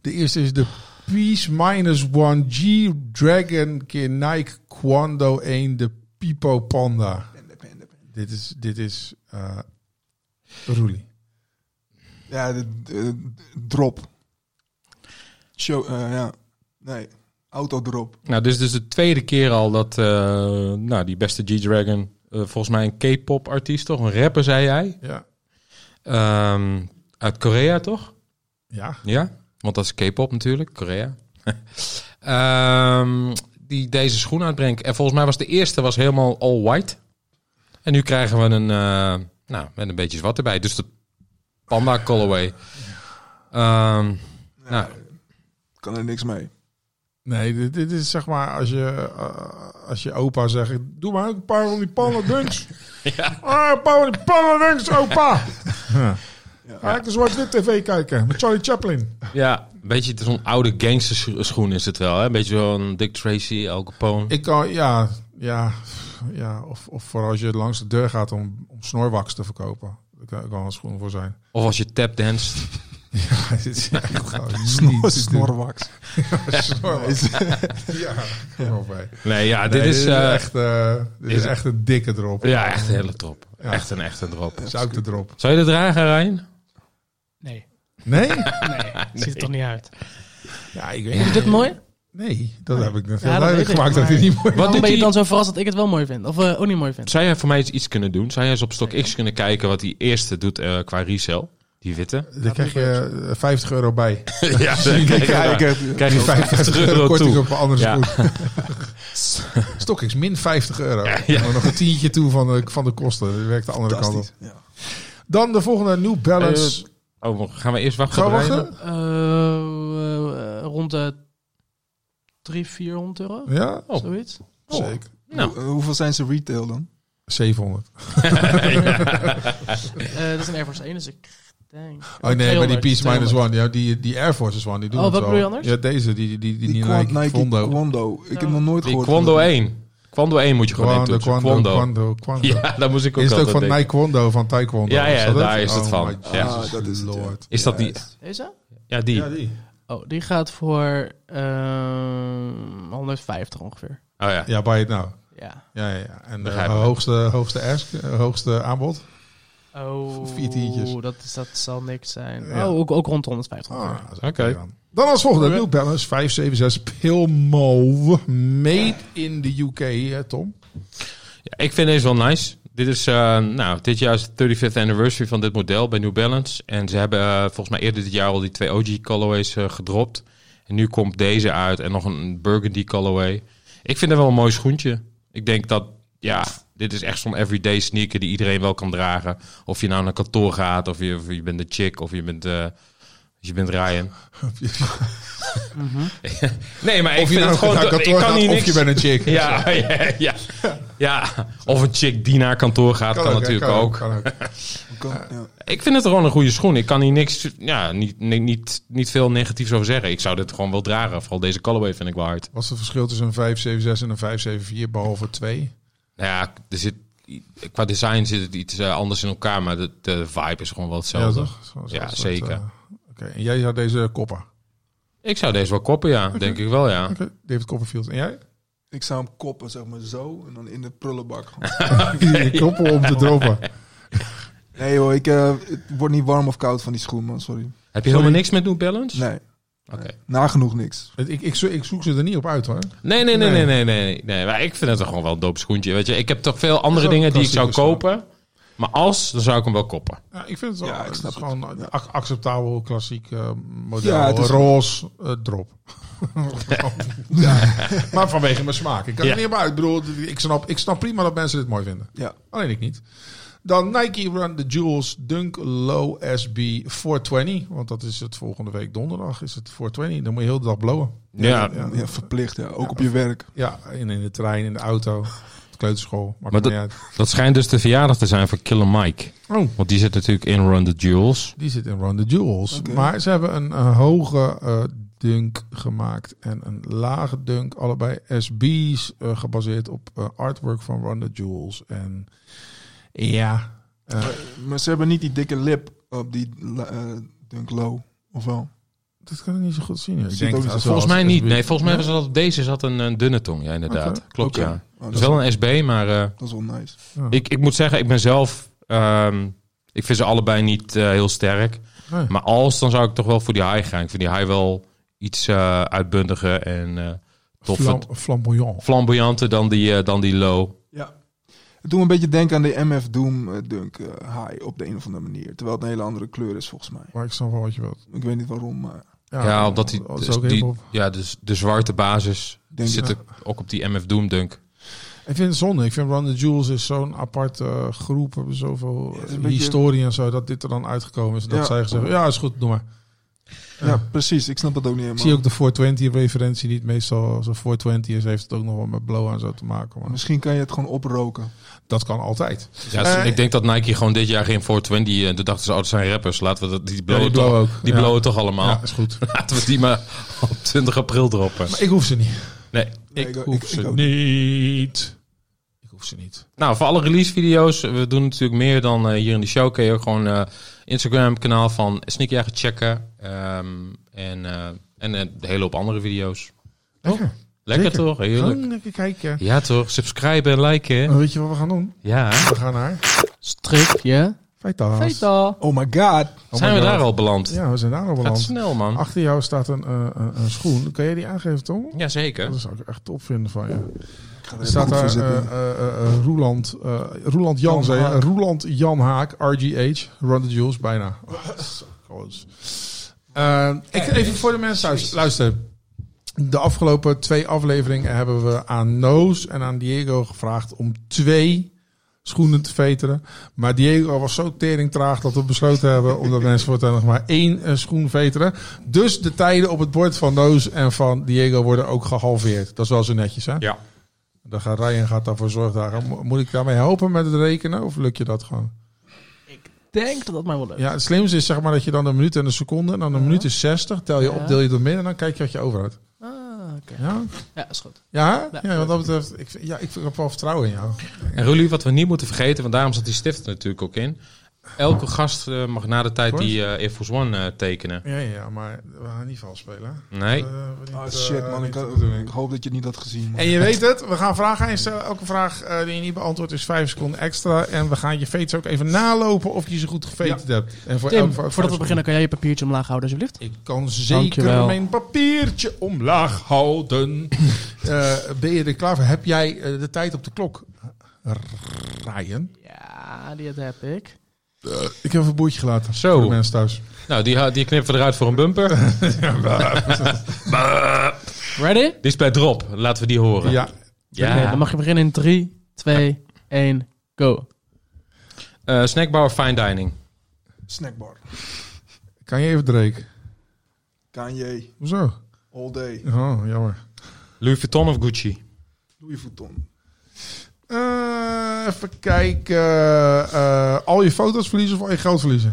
De eerste is de Peace Minus One G Dragon keer Nike Quando 1 de Pipo Panda. Dit is, dit is eh Roelie. Ja, de, de- de- drop. Show, eh, ja. Nee, autodrop. Nou, dit is dus de tweede keer al dat eh, nou, die beste G-Dragon... eh, volgens mij een K-pop artiest, toch? Een rapper, zei jij. Ja. Ehm, uit Korea, toch? Ja. Ja, want dat is K-pop natuurlijk, Korea. Ehm, die deze schoen uitbrengt. En volgens mij was de eerste was helemaal all white. En nu krijgen we een, eh, nou, met een beetje zwart erbij. Dus de panda colorway. Ehm, nou, Kan er niks mee. Nee, dit, dit is zeg maar als je, eh, als je opa zegt... Doe maar ook een paar van die panda dunks. Ja. Ah, een paar van die panda dunks, opa. Ja. Ga ik de zwart-wit tv kijken met Charlie Chaplin. ja, een beetje zo'n oude gangster schoen is het wel. Hè? Een beetje zo'n Dick Tracy, Al Capone. Ik kan, ja, ja, ja. Of, of voor als je langs de deur gaat om, om snorwax te verkopen. Daar kan, kan een schoen voor zijn. Of als je tapdanst. Ja, dit is echt gewoon niet te doen. Snorwax. Snorwax. Ja, kom op, hé. Nee, ja, Nee, dit is, eh, echt, eh, dit is is- echt een dikke drop. ja, echt een hele drop. Ja. Echt een echte drop. Zoute drop. Zou je dat dragen, Ryan? Nee, Nee? nee. Ziet er toch niet uit. Ja, ik Vind je weet dit mooi? Nee, dat heb ik net Ja, heel dat duidelijk weet ik, gemaakt dat maar- hij niet mooi Wat Waarom doet ben je die- dan zo verrast dat ik het wel mooi vind? Of eh, ook niet mooi vind? Zou jij voor mij eens iets kunnen doen? Zou jij eens op stok X kunnen kijken wat die eerste doet eh, qua resell? Die witte? Daar krijg je eh, 50 euro bij. ja, Die kijk, eh, kijken. krijg je Die ook 50 euro korting op een andere Ja. schoen. StockX min 50 euro. Maar nog een tientje toe van de, van de kosten. Dat werkt de andere kant op. Fantastisch. Ja. Dan de volgende New Balance. Oh, maar gaan we eerst wachten? Gaan we op Ryan? wachten? Eh, eh, eh, rond de 300, 400 euro? Ja, Oh. Zoiets? zeker. Oh, Nou, Hoe- hoeveel zijn ze retail dan? 700. Eh, dat is een Air Force 1, dus ik denk... Oh nee, maar die 200, Peace Minus 200. One, ja, die, die Air Forces One, die doen Oh, het wat wel. bedoel je anders? Ja, deze, die, die, die, die, Die, die Quad Nike Nike Fondo. Quando. Ik heb nog nooit die gehoord. Quando van dat- 1. Kwando 1 moet je gewoon Kwando, intoetsen. kwando, kwando, Kwando. kwando. Ja, daar moest ik ook Is het ook altijd van denken. Taekwondo, van Taekwondo? Ja, ja, dat daar het? is het Oh van. my Ja. Jesus Ah, dat is het, ja. Lord. Is dat die? Deze? Ja, die. Ja, die. Oh, die gaat voor ehm 150 ongeveer. Oh ja. Ja, buy it now. Ja. Ja, ja, ja. En de Begrijp ik. hoogste, hoogste, ask, eh, hoogste aanbod. Oh, Vier tientjes. dat, is, dat zal niks zijn. Ja. Oh, ook, ook rond de 150 Ah, ongeveer. dat is Oké. dan. Dan als volgende, New Balance 576 Pilmo. Made in the UK, hè, Tom. Ja, ik vind deze wel nice. Dit is, eh, nou, dit jaar is de 35th anniversary van dit model bij New Balance. En ze hebben eh, volgens mij eerder dit jaar al die twee OG colorways eh, gedropt. En nu komt deze uit en nog een burgundy colorway. Ik vind het wel een mooi schoentje. Ik denk dat, ja, dit is echt zo'n everyday sneaker die iedereen wel kan dragen. Of je nou naar kantoor gaat, of je, of je bent de chick, of je bent... eh, je bent Ryan. Nee, maar ik Of je vind nou het gewoon... naar ik kantoor kan gaat hier of niks- je bent een chick. ja, ja, ja, ja. Of een chick die naar kantoor gaat, kan, ook, hè, natuurlijk kan ook. kan ja. Ik vind het gewoon een goede schoen. Ik kan hier niks, ja, niet, ni- niet, niet veel negatiefs over zeggen. Ik zou dit gewoon wel dragen. Vooral deze colorway vind ik wel hard. Wat is het verschil tussen een 576 en een 574, behalve twee? Nou ja, er zit, qua design zit het iets eh, anders in elkaar, maar de, de vibe is gewoon wel hetzelfde. Zo- zo- Ja, soort, zeker. eh, Oké, en jij zou deze koppen. ik zou deze wel koppen, ja. Denk ik wel, ja. Oké, David Copperfield. En jij? Ik zou hem koppen, zeg maar zo. En dan in de prullenbak. Die koppen om te droppen. nee hoor, ik, eh, het wordt niet warm of koud van die schoen, man. Sorry. Heb je helemaal niks met New Balance? Nee, Oké. nagenoeg niks. Ik, ik, zo- ik zoek ze er niet op uit hoor. Nee, nee, nee, Nee. nee, nee, nee, nee. Maar ik vind het toch gewoon wel een dope schoentje. Weet je, ik heb toch veel andere ook een dingen die ik zou klassieke kopen. Maar als, dan zou ik hem wel koppen. Ja, ik vind het wel Ja, ik het is snap het. gewoon een Ja. ac- acceptabel klassiek eh, model. Ja, het is- Roze eh, drop. ja. Maar vanwege mijn smaak. Ik kan Ja. het niet meer uit. Ik bedoel, ik snap, ik snap prima dat mensen dit mooi vinden. Ja. Alleen ik niet. Dan Nike Run the Jewels Dunk Low SB 420. Want dat is het volgende week donderdag. Is het 420. Dan moet je heel de dag blowen. Ja, Ja, Ja, verplicht, ja. Ook op je werk. ja in, in de trein, in de auto, op de kleuterschool. Maakt Maar het niet uit. dat schijnt dus de verjaardag te zijn van Killer Mike. Oh. Want die zit natuurlijk in Run the Jewels. Die zit in Run the Jewels. Oké. Maar ze hebben een, eh, hoge eh, dunk gemaakt en een lage dunk. Allebei SB's eh, gebaseerd op eh, artwork van Run the Jewels. En ja, eh, Maar ze hebben niet die dikke lip op die eh Dunk Low, of wel? dat kan ik niet zo goed zien. Ziet Ik denk ook niet. dat ze Volgens als mij niet. SB Nee, volgens mij Ja. was dat op deze zat een, een dunne tong. Ja, inderdaad. Oké. Klopt, Oké. ja. Oh, dat, Het is is wel een SB, maar eh, dat is wel nice. ik, ik moet zeggen, ik ben zelf... ehm, ik vind ze allebei niet eh, heel sterk. Nee. Maar als, dan zou ik toch wel voor die high gaan. Ik vind die high wel iets eh uitbundiger en eh toffer. Flam, flamboyant. flamboyanter dan die, eh, dan die low. Ja. Het doet me een beetje denken aan de MF Doom eh, Dunk eh, High op de een of andere manier. Terwijl het een hele andere kleur is, volgens mij. Maar ik snap wel wat je wilt. Ik weet niet waarom, maar Ja, omdat die, dat is dus ook die- hiphop. ja, dus de zwarte basis Denk zit ik. er ook op die MF Doom dunk. Ik vind het zonde. Ik vind Run the Jewels is zo'n aparte eh, groep. Hebben zoveel Ja, het is een eh, beetje- historie en zo. Dat dit er dan uitgekomen is. Dat Ja. zij gezegd ja is goed, doe maar. ja, precies. Ik snap dat ook niet Ik helemaal. zie ook de 420-referentie niet. Meestal zo'n 420 is, heeft het ook nog wel met blow en zo te maken. Maar Misschien kan je het gewoon oproken. dat kan altijd. Ja, dus Eh, ik denk dat Nike gewoon dit jaar geen 420... eh, Toen dachten ze, oh, dat zijn rappers. Laten we dat, die blowen, blowen toch, ook. Die Ja. blowen toch allemaal. Ja, is goed. Laten we die maar op 20 april droppen. Maar ik hoef ze niet. Nee. Nee, ik, ik ook- hoef ik- ze ik ook niet. Ik hoef ze niet. Nou, voor alle release-video's... We doen natuurlijk meer dan eh, hier in de show. Kun je ook gewoon eh, Instagram-kanaal van Sneakjager checken. Ehm, en eh, en eh, een hele hoop andere video's. Lekker. Lekker Zeker. toch? Heerlijk. Gewoon Oh. lekker kijken. Ja toch? Subscribe en liken. hè? En weet je wat we gaan doen? Ja. We gaan naar Strikje. Feitas. Feta. Oh my god. Oh Zijn my we daar God. al beland? Ja, we zijn daar al Gaat beland. Ah. snel, man. Achter jou staat een, eh, een, een schoen. Kan jij die aangeven, Tom? Jazeker. Dat zou ik echt top vinden van je. Ik ga Er staat even daar goed voor eh, zitten. eh, eh, eh, Roeland, eh, Roeland Jan, Jan zei je? eh, Haak. Roeland Jan Haak, RGH, Run the Jewels, bijna. Oh, zo groot. Eh, ik even voor de mensen thuis, luister. De afgelopen twee afleveringen hebben we aan Noos en aan Diego gevraagd om twee schoenen te veteren. Maar Diego was zo teringtraag dat we besloten hebben om dat mensen voortaan nog maar één eh, schoen veteren. Dus de tijden op het bord van Noos en van Diego worden ook gehalveerd. Dat is wel zo netjes, hè? Ja. Dan gaat Ryan gaat daarvoor zorgdagen. Mo- Moet ik daarmee helpen met het rekenen of lukt je dat gewoon? Denk dat dat mij wel leuk is. Ja, het slimste is zeg maar dat je dan een minuut en een seconde en dan een minuut is 60. Tel je Ja. op, deel je door midden en dan kijk je wat je overhoudt. Ah, oké. keer. Ja? Ja, is goed. Ja? Ja. ja, wat dat betreft. Ik, vind- ja, ik heb wel vertrouwen in jou. En Rulie, wat we niet moeten vergeten, want daarom zat die stift er natuurlijk ook in. Elke gast eh, mag na de tijd die eh Air Force One eh, tekenen. Ja, ja, maar we gaan niet vals spelen. Nee. Eh, we niet, Ah, eh, shit, man. niet Ik, de bedoeling. ik hoop dat je niet had gezien. man. En je weet het, we gaan vragen instellen. Elke vraag eh, die je niet beantwoordt is vijf seconden extra. En we gaan je fates ook even nalopen of je ze goed gefeted hebt. En voor Tim, elke vraag- voordat we beginnen, kan jij je papiertje omlaag houden alsjeblieft? Ik kan zeker Dankjewel. mijn papiertje omlaag houden. Eh, ben je er klaar voor? Heb jij eh, de tijd op de klok, Ryan? Ja, die heb ik. Eh, Ik heb even een boertje gelaten. Zo. Voor de mensen thuis. Nou, die, ha- die knippen we eruit voor een bumper. Ready? Die is bij Drop. Laten we die horen. Ja. Ja. Oké, dan mag je beginnen in 3, 2, 1, go. Eh, snackbar of fine dining? Snackbar. Kan je even Drake? Kanye. Hoezo? All day. Oh, jammer. Louis Vuitton of Gucci? Louis Vuitton. Eh, even kijken. Eh, eh, al je foto's verliezen of al je geld verliezen?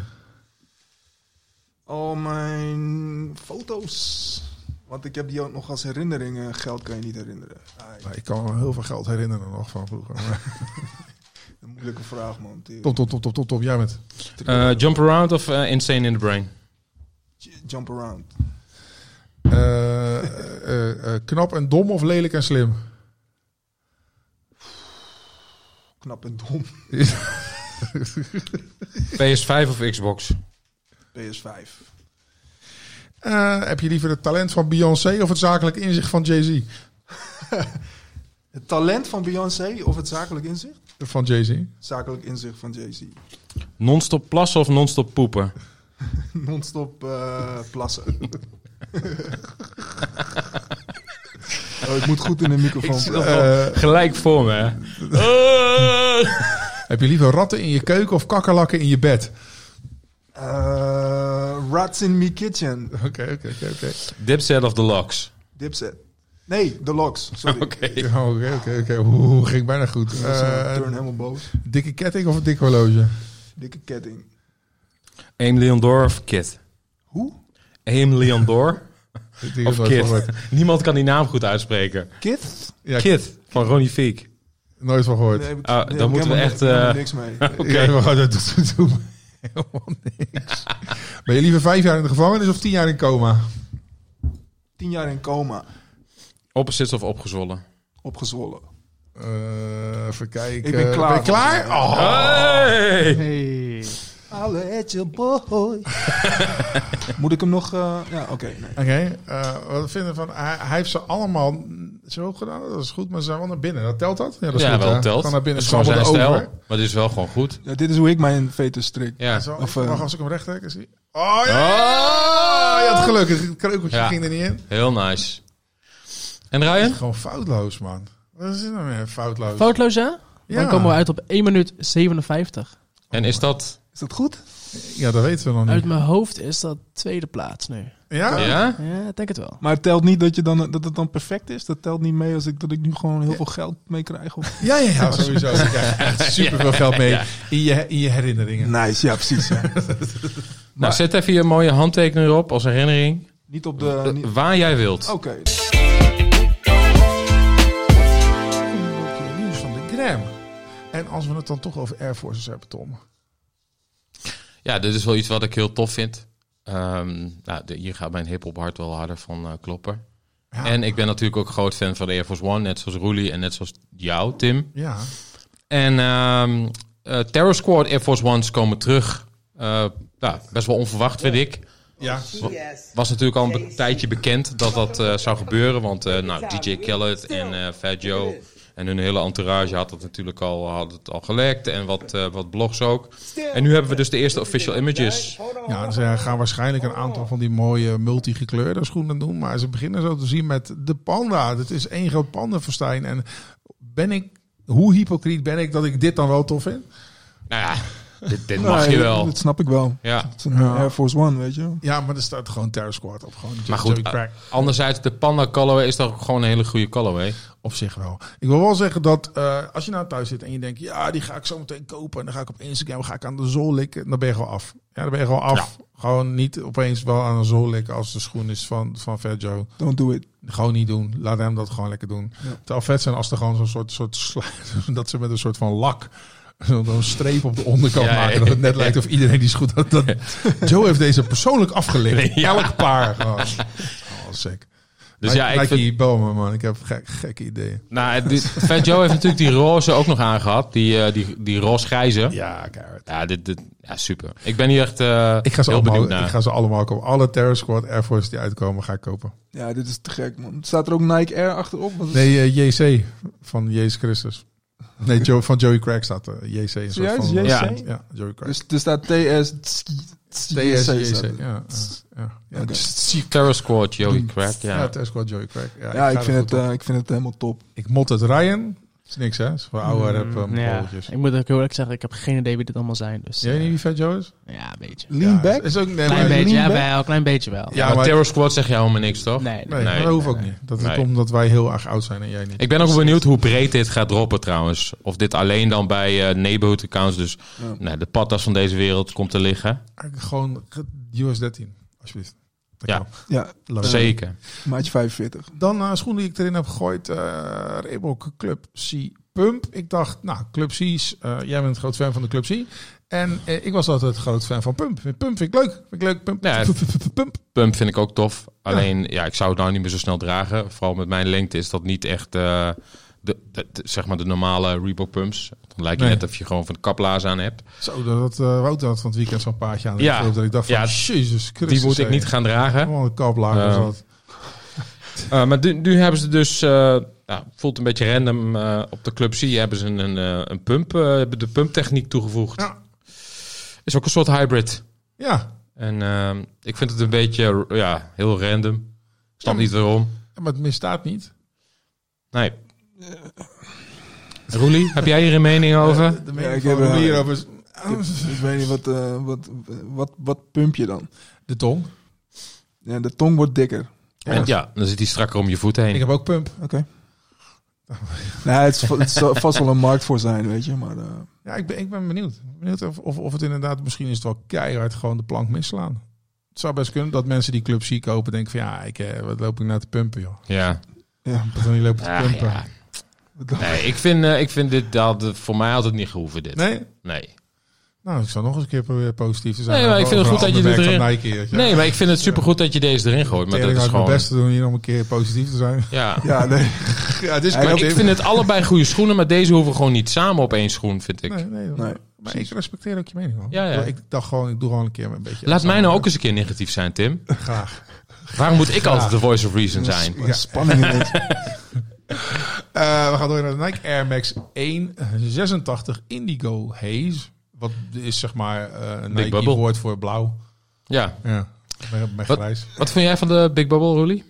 Al mijn foto's. Want ik heb die ook nog als herinneringen. Geld kan je niet herinneren. Ai, Nou, ik kan me heel veel geld herinneren nog van vroeger. Maar een moeilijke vraag, man. Tering. top, top, top, top, top, top. Jij bent. Eh, jump Around of eh, Insane in the Brain? J- Jump around. Eh, eh, eh, knap en dom of lelijk en slim? Knap en dom. PS5 of Xbox? PS5. Eh, heb je liever het talent van Beyoncé of het zakelijk inzicht van Jay-Z? Het talent van Beyoncé of het zakelijk inzicht? Van Jay-Z. Zakelijk inzicht van Jay-Z. Non-stop plassen of non-stop poepen? Non-stop eh, plassen. oh, ik moet goed in de microfoon. praten. Eh, Gelijk voor me. hè? Eh. heb je liever ratten in je keuken of kakkerlakken in je bed? Eh, rats in me kitchen. Oké, oké, oké, oké. Dipset of The Locks? Dipset. Nee, de locks. Sorry. Oké. Ja, Oh, Oké, oké, oké. Oeh, ging bijna goed. Ik was, eh, Eh, turn helemaal boos. dikke ketting of een dik horloge? Dikke ketting. Aim Leon Door of Kid? Hoe? Ah, Aim Leon Door Ik denk of dat nooit van Kid? gehoord. Niemand kan die naam goed uitspreken. Kid? Ja, Kid van Ronnie Fiek. Nooit van gehoord. Nee, Ah, nee, dan ik moeten we heb echt, er helemaal eh, niks mee. Oké. Ja, maar dat doet, dat doet me helemaal niks. Ben je liever vijf jaar in de gevangenis of tien jaar in coma? Tien jaar in coma. Opposites of opgezwollen? Opgezwollen. Eh even kijken. Ik ben klaar. Ben je klaar? Oh. Hey! Hey. Alle at your boy. Moet ik hem nog... eh, ja, oké. nee. Oké, eh, wat vinden we van... Hij, hij heeft ze allemaal zo gedaan, dat is goed, maar ze zijn wel naar binnen. Dat telt dat? Ja, dat is Ja, goed, wel hè? telt. Gaan naar Dat binnen, is gewoon schrabbel zijn erover. stijl. Maar dit is wel gewoon goed. Ja, dit is hoe ik mijn vetus strik. Ja. Zo, Of, ik- eh, wacht, als ik hem recht trek, is hij... Oh ja! Oh! Je had geluk, het kreukeltje Ja. ging er niet in. Heel nice. En Ryan? Gewoon foutloos, man. Wat is dit nou weer, foutloos? Foutloos ja? Dan Ja. komen we uit op 1 minuut 57. En is dat... Is dat goed? Ja, dat weten we nog Uit niet. mijn hoofd is dat tweede plaats nu. Ja? Ja? Ja, ik denk het wel. Maar het telt niet dat, je dan, dat het dan perfect is. Dat telt niet mee als ik, dat ik nu gewoon heel veel geld mee krijg. Of... Ja, ja, ja, sowieso. Je krijgt echt super veel geld mee in, je, in je herinneringen. Nice, ja precies. ja. Nou, zet even je mooie handtekening op als herinnering. Eh, niet op de... niet- Oké. Waar jij Oh. wilt. Een nieuws van de Gram. En als we het dan toch over Air Forces hebben, Tom. Ja, dit is wel iets wat ik heel tof vind. Ehm, nou, de- hier gaat mijn hip-hop hart wel harder van eh, kloppen. Ja. En ik ben natuurlijk ook groot fan van de Air Force One, net zoals Roelie en net zoals jou, Tim. Ja. En ehm, eh, Terror Squad Air Force Ones komen terug. Eh, nou, best wel onverwacht, vind ik. Ja. Was natuurlijk al een be- tijdje bekend dat dat eh, zou gebeuren. Want eh, nou, DJ Khaled en eh Fat Joe en hun hele entourage had dat natuurlijk al, had het al gelekt. En wat, eh, wat blogs ook. En nu hebben we dus de eerste official images. ja, ze gaan waarschijnlijk een aantal van die mooie multigekleurde schoenen doen. Maar ze beginnen zo te zien met de panda. Het is één groot pandenfestijn. En ben ik, hoe hypocriet ben ik dat ik dit dan wel tof vind? Nou ja, dit dit mag je Nee, wel. Dat, dat snap ik wel. ja. Het is een Air Force One, weet je. wel. Ja, maar er staat gewoon Terror Squad op. Gewoon Maar Joey goed, eh, Crack. anderzijds, de Panda colorway is toch ook gewoon een hele goede colorway. Op zich wel. Ik wil wel zeggen dat eh, als je nou thuis zit en je denkt, ja, die ga ik zo meteen kopen. En dan ga ik op Instagram ga ik aan de zool likken. Dan ben je gewoon af. Ja, dan ben je gewoon af. Gewoon niet opeens wel aan de zool likken als de schoen is van, van Fat Joe. Don't do it. Gewoon niet doen. Laat hem dat gewoon lekker doen. Terwijl vet zijn als er gewoon zo'n soort, soort slu- dat ze met een soort van lak zo'n zo'n streep op de onderkant Ja, maken. ja. Dat het net lijkt of iedereen die schoen had. Dat, Joe heeft deze persoonlijk afgelikt. Elk paar. Gewoon. Oh, sick. Dus Dus ja, ik vind, bel me man. Ik heb gek, gekke ideeën. nou, dit, Fat Joe heeft natuurlijk die roze ook nog aangehad. Die, eh, die, die roze-grijze. Ja, Ja, keihard. dit, dit, ja, super. Ik ben hier echt eh, Ik ga ze heel allemaal, benieuwd ik naar. ga ze allemaal kopen. Alle Terror Squad Air Force die uitkomen, ga ik kopen. Ja, dit is te gek, man. Staat er ook Nike Air achterop? Wat is- Nee, eh, JC van Jezus Christus. Nee, Joe, van Joey Craig staat eh, er. JC. Een soort Serieus? van, eh, JC? Ja. Ja, Joey Craig. Dus er staat TS... TS, staat JC. er. Ja, ja, dus ja. Oké. Terror Squad, Joey Crack. Ja, Ja. Terror Squad Joey Craig. Ja, Ja, ik, ik ga er vind, het, goed op. eh, ik vind het helemaal top. Ik mot het Ryan. Is niks, hè? Is voor oude rap um, Mm, ja, bolletjes. ik moet ook heel eerlijk zeggen, ik heb geen idee wie dit allemaal zijn. Dus, Jij weet niet wie Fat Joe is? ja, een beetje. Lean Ja, back? Is, is ook, nee, Klein maar, beetje, lean ja, back? wel, klein beetje wel. Ja, Ja, maar maar- Terror Squad zeg je helemaal niks, toch? Nee, Nee, Nee, maar dat hoeft nee, ook nee. niet. Dat Nee. komt omdat wij heel erg oud zijn en jij niet. Ik ben ook wel benieuwd hoe breed dit gaat droppen trouwens. Of dit alleen dan bij eh, neighborhood accounts, dus Ja. nou, de patas van deze wereld, komt te liggen. Eigenlijk Gewoon ge- US 13, alsjeblieft. Dat Ja. kan. Ja, Leuk. Zeker. maatje 45. Dan eh, schoen die ik erin heb gegooid. eh Reebok Club C Pump. Ik dacht, nou, Club C's. eh, jij bent een groot fan van de Club C. En eh, ik was altijd groot fan van Pump. Pump vind ik leuk. Vind ik leuk. Pump. Ja. Pump, pump, pump, pump. Pump vind ik ook tof. Alleen, ja, ik zou het nou niet meer zo snel dragen. Vooral met mijn lengte is dat niet echt eh, de, de- de- zeg maar de normale Reebok pumps. Dan lijkt het Nee. net of je gewoon van de kaplaars aan hebt. Zo, dat eh Wouter had van het weekend zo'n paardje aan. Ja. Ja. Dat ik dacht van, Ja, jezus Christus. Die moet ik hé. niet gaan dragen. Gewoon een kaplaag was Eh, dat. Eh, maar nu, nu hebben ze dus, eh, nou, voelt een beetje random, eh, op de Club C hebben ze een, een, eh, een pump, eh, hebben de pumptechniek toegevoegd. Ja. Is ook een soort hybrid. Ja. En ehm, ik vind het een beetje ja, heel random. Ik snap Ja, niet waarom. Maar het misstaat niet. Nee. Roelie, heb jij hier een mening over? De Ja, mening ik van heb, eh, Roelier over is Ik, ik weet niet, wat, eh, wat, wat, wat pump je dan? de tong. Ja, de tong wordt dikker. En ja, dan zit hij strakker om je voet heen. Ik heb ook Pump. Oké. nee, het, is, va- het zal vast wel een markt voor zijn, weet je. Maar eh, Ja, ik ben, ik ben benieuwd. Benieuwd of, of, of het inderdaad, misschien is het wel keihard gewoon de plank misslaan. Het zou best kunnen dat mensen die Club C kopen denken van ja, ik, eh, wat loop ik nou te pumpen joh. Ja. ja, Wat dan niet lopen te Ah, pumpen. ja. wat dan? Nee, ik vind, eh, ik vind dit, dat, had- voor mij had het niet gehoeven dit. Nee? Nee. Nou, ik zal nog eens een keer proberen positief te zijn. Nee, maar ik vind het goed dat je dit Van Nike, weet je. Nee, maar ik vind het supergoed dat je deze erin gooit. Maar Tering, dat is had ik mijn gewoon... best te doen hier om een keer positief te zijn. Ja. ja, nee. ja, het is Hij Maar kort. ik vind het allebei goede schoenen, maar deze hoeven gewoon niet samen op één schoen, vind ik. Nee, nee, Nee, maar ik respecteer ook je mening man. Ja, ja. Ik dacht gewoon, ik doe gewoon een keer een beetje. Laat mij nou ook eens een keer negatief zijn, Tim. Graag. Waarom moet ik altijd de voice of reason zijn? Maar Spanning ineens. Eh, we gaan door naar de Nike Air Max 186 Indigo Haze. Wat is zeg maar eh een Nike Bubble. woord voor blauw. Ja. Ja, met, met Wat? grijs. Wat vind jij van de Big Bubble, Roelie?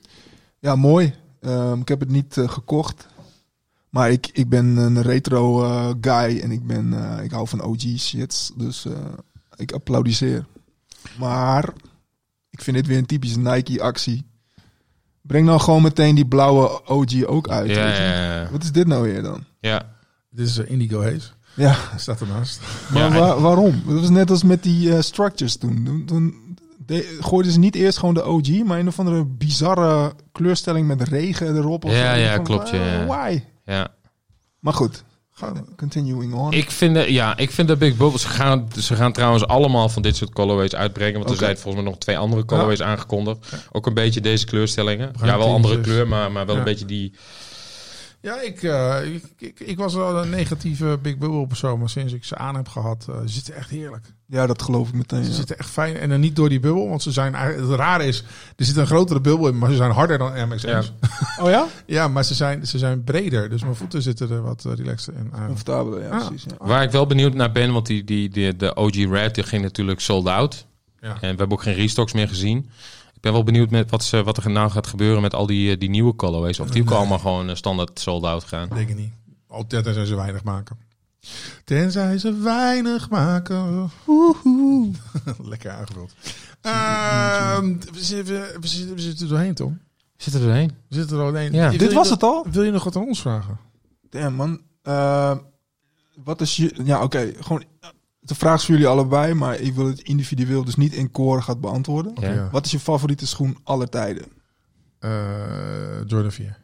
Ja, mooi. Ehm, ik heb het niet eh, gekocht. Maar ik, ik ben een retro eh, guy en ik, ben, eh, ik hou van OG shits. Dus eh, ik applaudisseer. Maar ik vind dit weer een typische Nike actie. Breng nou gewoon meteen die blauwe OG ook uit. Ja, weet je. ja, ja. Wat is dit nou weer dan? ja. Dit is eh, Indigo Haze. Ja, Staat ernaast. maar Ja, wa- waarom? Dat was net als met die eh, structures toen. Toen, toen de- gooiden ze niet eerst gewoon de OG, maar een of andere bizarre kleurstelling met regen erop. Of Ja, zo. Ik ja, van, klopt, eh, ja. Why? ja. Maar goed, Gewoon- continuing on. Ik vind de, ja, ik vind de Big Bubble... Ze gaan, ze gaan trouwens allemaal van dit soort colorways uitbrengen. Want Oké. er zijn volgens mij nog twee andere colorways aangekondigd. Ook een beetje deze kleurstellingen. Bruin, Ja, wel andere tintjes. kleur, maar, maar wel Ja. een beetje die... Ja, ik, eh, ik, ik, ik was wel een negatieve Big Bubble persoon, maar sinds ik ze aan heb gehad, eh, ze zitten echt heerlijk. Ja, dat geloof ik meteen. Ze ja. zitten echt fijn en dan niet door die bubbel, want ze zijn, eigenlijk- het rare is, er zit een grotere bubbel in, maar ze zijn harder dan Air Max Ja. 1's. Oh ja? Ja, maar ze zijn, ze zijn breder, dus mijn voeten zitten er wat eh, relaxter in. aan. Comfortabel, ja, Ah. precies. Ja. Waar ik wel benieuwd naar ben, want die, die, die, de OG Red die ging natuurlijk sold out. Ja. En we hebben ook geen restocks meer gezien. Ik ben wel benieuwd met wat, ze, wat er nou gaat gebeuren met al die, eh, die nieuwe colorways. Of die ook allemaal gewoon eh, standaard sold out gaan. Ik denk het niet. Altijd zijn ze weinig maken. Tenzij ze weinig maken. Woehoe. Lekker aangevuld. Ehm, we, zitten, we, zitten, we zitten er doorheen, Tom. Zit er doorheen. We zitten er doorheen. Ja. Wil Dit je was nog- het al? Wil je nog wat aan ons vragen? Damn, man. Eh, wat is je... Ja, oké. Gewoon... eh, De vraag is voor jullie allebei, maar ik wil het individueel dus niet in koor gaat beantwoorden. Ja. Ja. Wat is je favoriete schoen aller tijden? Eh, Jordan 4.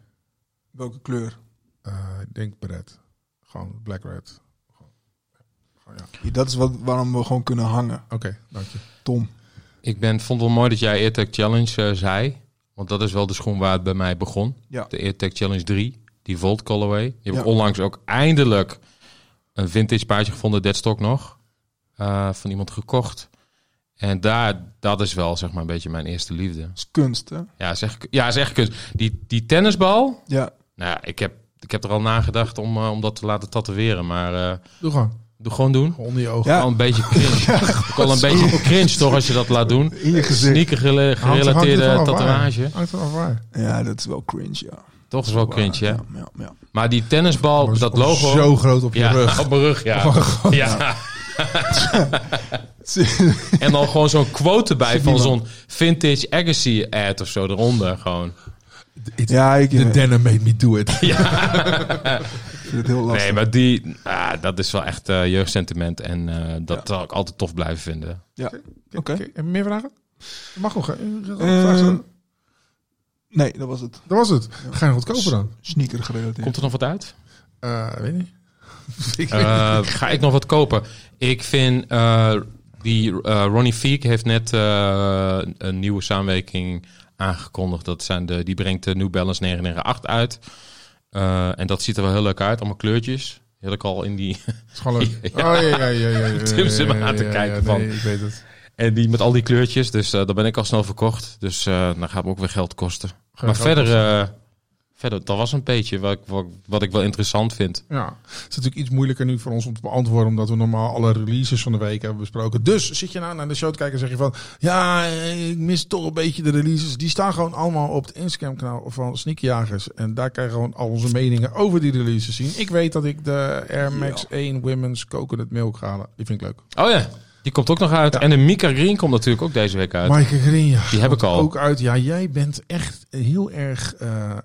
Welke kleur? Eh, ik denk Beret. Gewoon Black Red. Gewoon- gewoon, ja. Ja, dat is wat, waarom we gewoon kunnen hangen. Oké, dank je. Tom. Ik ben, vond het wel mooi dat jij AirTag Challenge eh, zei. Want dat is wel de schoen waar het bij mij begon. Ja. De AirTag Challenge 3. Die Volt colorway. Die heb Ja. ik onlangs ook eindelijk een vintage paardje gevonden. Deadstock nog. eh, van iemand gekocht. En daar, dat is wel zeg maar een beetje mijn eerste liefde. is kunst, hè? Ja, zeg, ja, zeg kunst. Die, die tennisbal. Ja. Nou ja, ik heb, ik heb er al nagedacht om, eh, om dat te laten tatoeëren. Maar eh, Doe gewoon. doe gewoon doen. Onder je ogen. Ja. Al een beetje cringe. ook al een beetje cringe toch als je dat laat doen. In je gezicht. Sneaker gele- Hangt- hangt er gerelateerde vanaf waar. tatoeage. Oh, Hangt er vanaf waar. Ja, dat is wel cringe, ja. Toch is wel cringe, hè? Ja, ja, ja. Maar die tennisbal, Maar dat zo- logo... Zo groot op je ja, Oh. rug. op mijn rug, ja. ja. en dan gewoon zo'n quote erbij van zo'n vintage Agassi ad of zo eronder gewoon. Ja, ik The ik denim made me do it. vind het heel lastig. Nee, maar die, ah, dat is wel echt eh, jeugdsentiment. En eh, dat zal ik altijd tof blijven vinden. Ja. Oké. Oké. Heb je meer vragen? Je Mag nog. hè? Je gaat nog Eh, vragen stellen. nee, dat was het. Dat was het. Ga je nog wat kopen dan? Sneaker gerelateerd. Komt er nog wat uit? Eh, weet niet. Ik weet Eh, ga ik nog wat kopen? Ik vind eh, die eh, Ronnie Fiek heeft net eh, een nieuwe samenwerking aangekondigd. Dat zijn de, die brengt de New Balance 998 uit. Eh, en dat ziet er wel heel leuk uit. Allemaal kleurtjes. Heel leuk al in die. Het is gewoon leuk. Ja. Oh, ja, ja, ja, ja, ja. Tim zit me ja, aan te ja, kijken ja, van- Nee, ik weet het. En die met al die kleurtjes. Dus eh daar ben ik al snel verkocht. Dus eh dan gaat me ook weer geld kosten. Ga- maar ga- verder, eh, verder, dat was een beetje wat, ik- wat, wat ik wel interessant vind. Ja, het is natuurlijk iets moeilijker nu voor ons om te beantwoorden, omdat we normaal alle releases van de week hebben besproken. Dus zit je nou naar de show te kijken en zeg je van, ja, eh, ik mis toch een beetje de releases. Die staan gewoon allemaal op het Instagram-kanaal van Sneakjagers. En daar kan je gewoon al onze meningen over die releases zien. Ik weet dat ik de Air Max 1 Women's Coconut Milk ga halen. Die vind ik leuk. Oh ja, die komt ook nog uit. Ja. En de Mika Green komt natuurlijk ook deze week uit. Maaike Green, ja. Die heb ik al. Ook uit, ja, jij bent echt heel erg... eh, eh,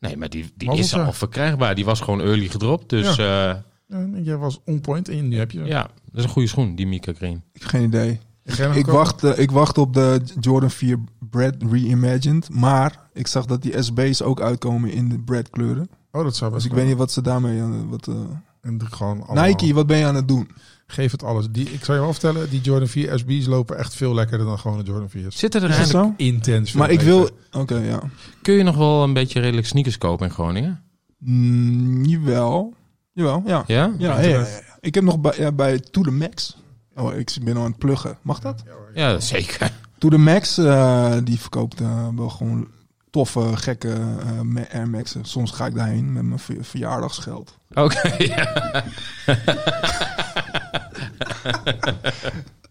Nee, maar die, die Wat is was er? al verkrijgbaar. Die was gewoon early gedropt. Dus ja, ja, eh, jij was on point en nu heb je... ja dat is een goede schoen, die Mika Green. Ik heb geen idee. Ga je nog Ik kopen? wacht, eh, ik wacht op de Jordan 4 Bread Reimagined. Maar ik zag dat die SB's ook uitkomen in de bread kleuren. Oh, dat zou best Dus ik kunnen. weet niet wat ze daarmee aan... Wat, eh, En doe gewoon allemaal. Nike, wat ben je aan het doen? Geef het alles. Die, ik zou je wel vertellen, die Jordan 4 SB's lopen echt veel lekkerder dan gewoon de Jordan 4's. Zitten er Is dat eigenlijk... zo? Intens veel Maar ik beter. wil... Oké, ja. Kun je nog wel een beetje redelijk sneakers kopen in Groningen? Mm, jawel. Jawel, ja. Ja? Ja, ja, ja, ja. Ik heb nog bij, ja, bij To The Max... Oh, ik ben al aan het pluggen. Mag dat? Ja, zeker. To the Max, eh, die verkoopt eh, wel gewoon toffe, gekke eh, Ma- Air Max'en. Soms ga ik daarheen met mijn ver- verjaardagsgeld. Oké, ja.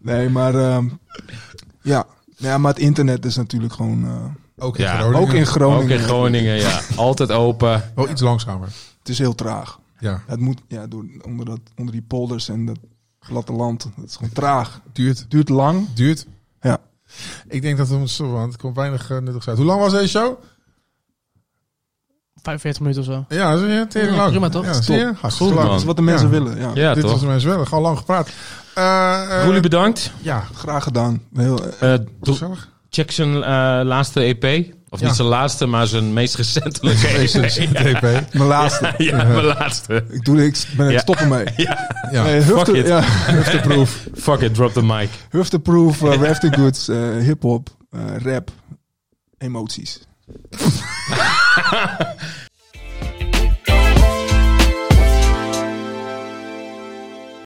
Nee, maar ehm, ja. ja, maar het internet is natuurlijk gewoon... eh, Ook in Ja, Groningen. ook in Groningen. Ook in Groningen, ja. Altijd open. Wel iets langzamer. Het is heel traag. Ja, Het moet ja, door, onder, dat, onder die polders en dat platteland. Het is gewoon traag. duurt. Het duurt lang. Duurt. Ja. Ik denk dat we ons... Want het komt weinig eh, nuttigs uit. Hoe lang was deze show? 45 minuten of zo. Ja, dat is weer tegen Ja, lang. prima toch? Ja, Top. zie je? Hartstikke Goed, lang. Dat is wat de mensen willen. Ja. Ja, Dit was toch? de mensen wel. Gewoon lang gepraat. Eh, eh, Roelie, bedankt. ja, Graag gedaan. Heel, eh, Eh, doe- gezellig. check zijn eh, laatste EP. Of Ja. niet zijn laatste, maar zijn meest recentelijke EP. DP. mijn laatste. Ja, mijn laatste. Ik, doe, dit, ik ben er Ja. stoppen mee. Ja. Nee, hufte, it. ja, Hufteproof. Fuck it, drop the mic. Hufteproof, eh, Rafting Goods, eh, hip-hop, eh, rap, emoties.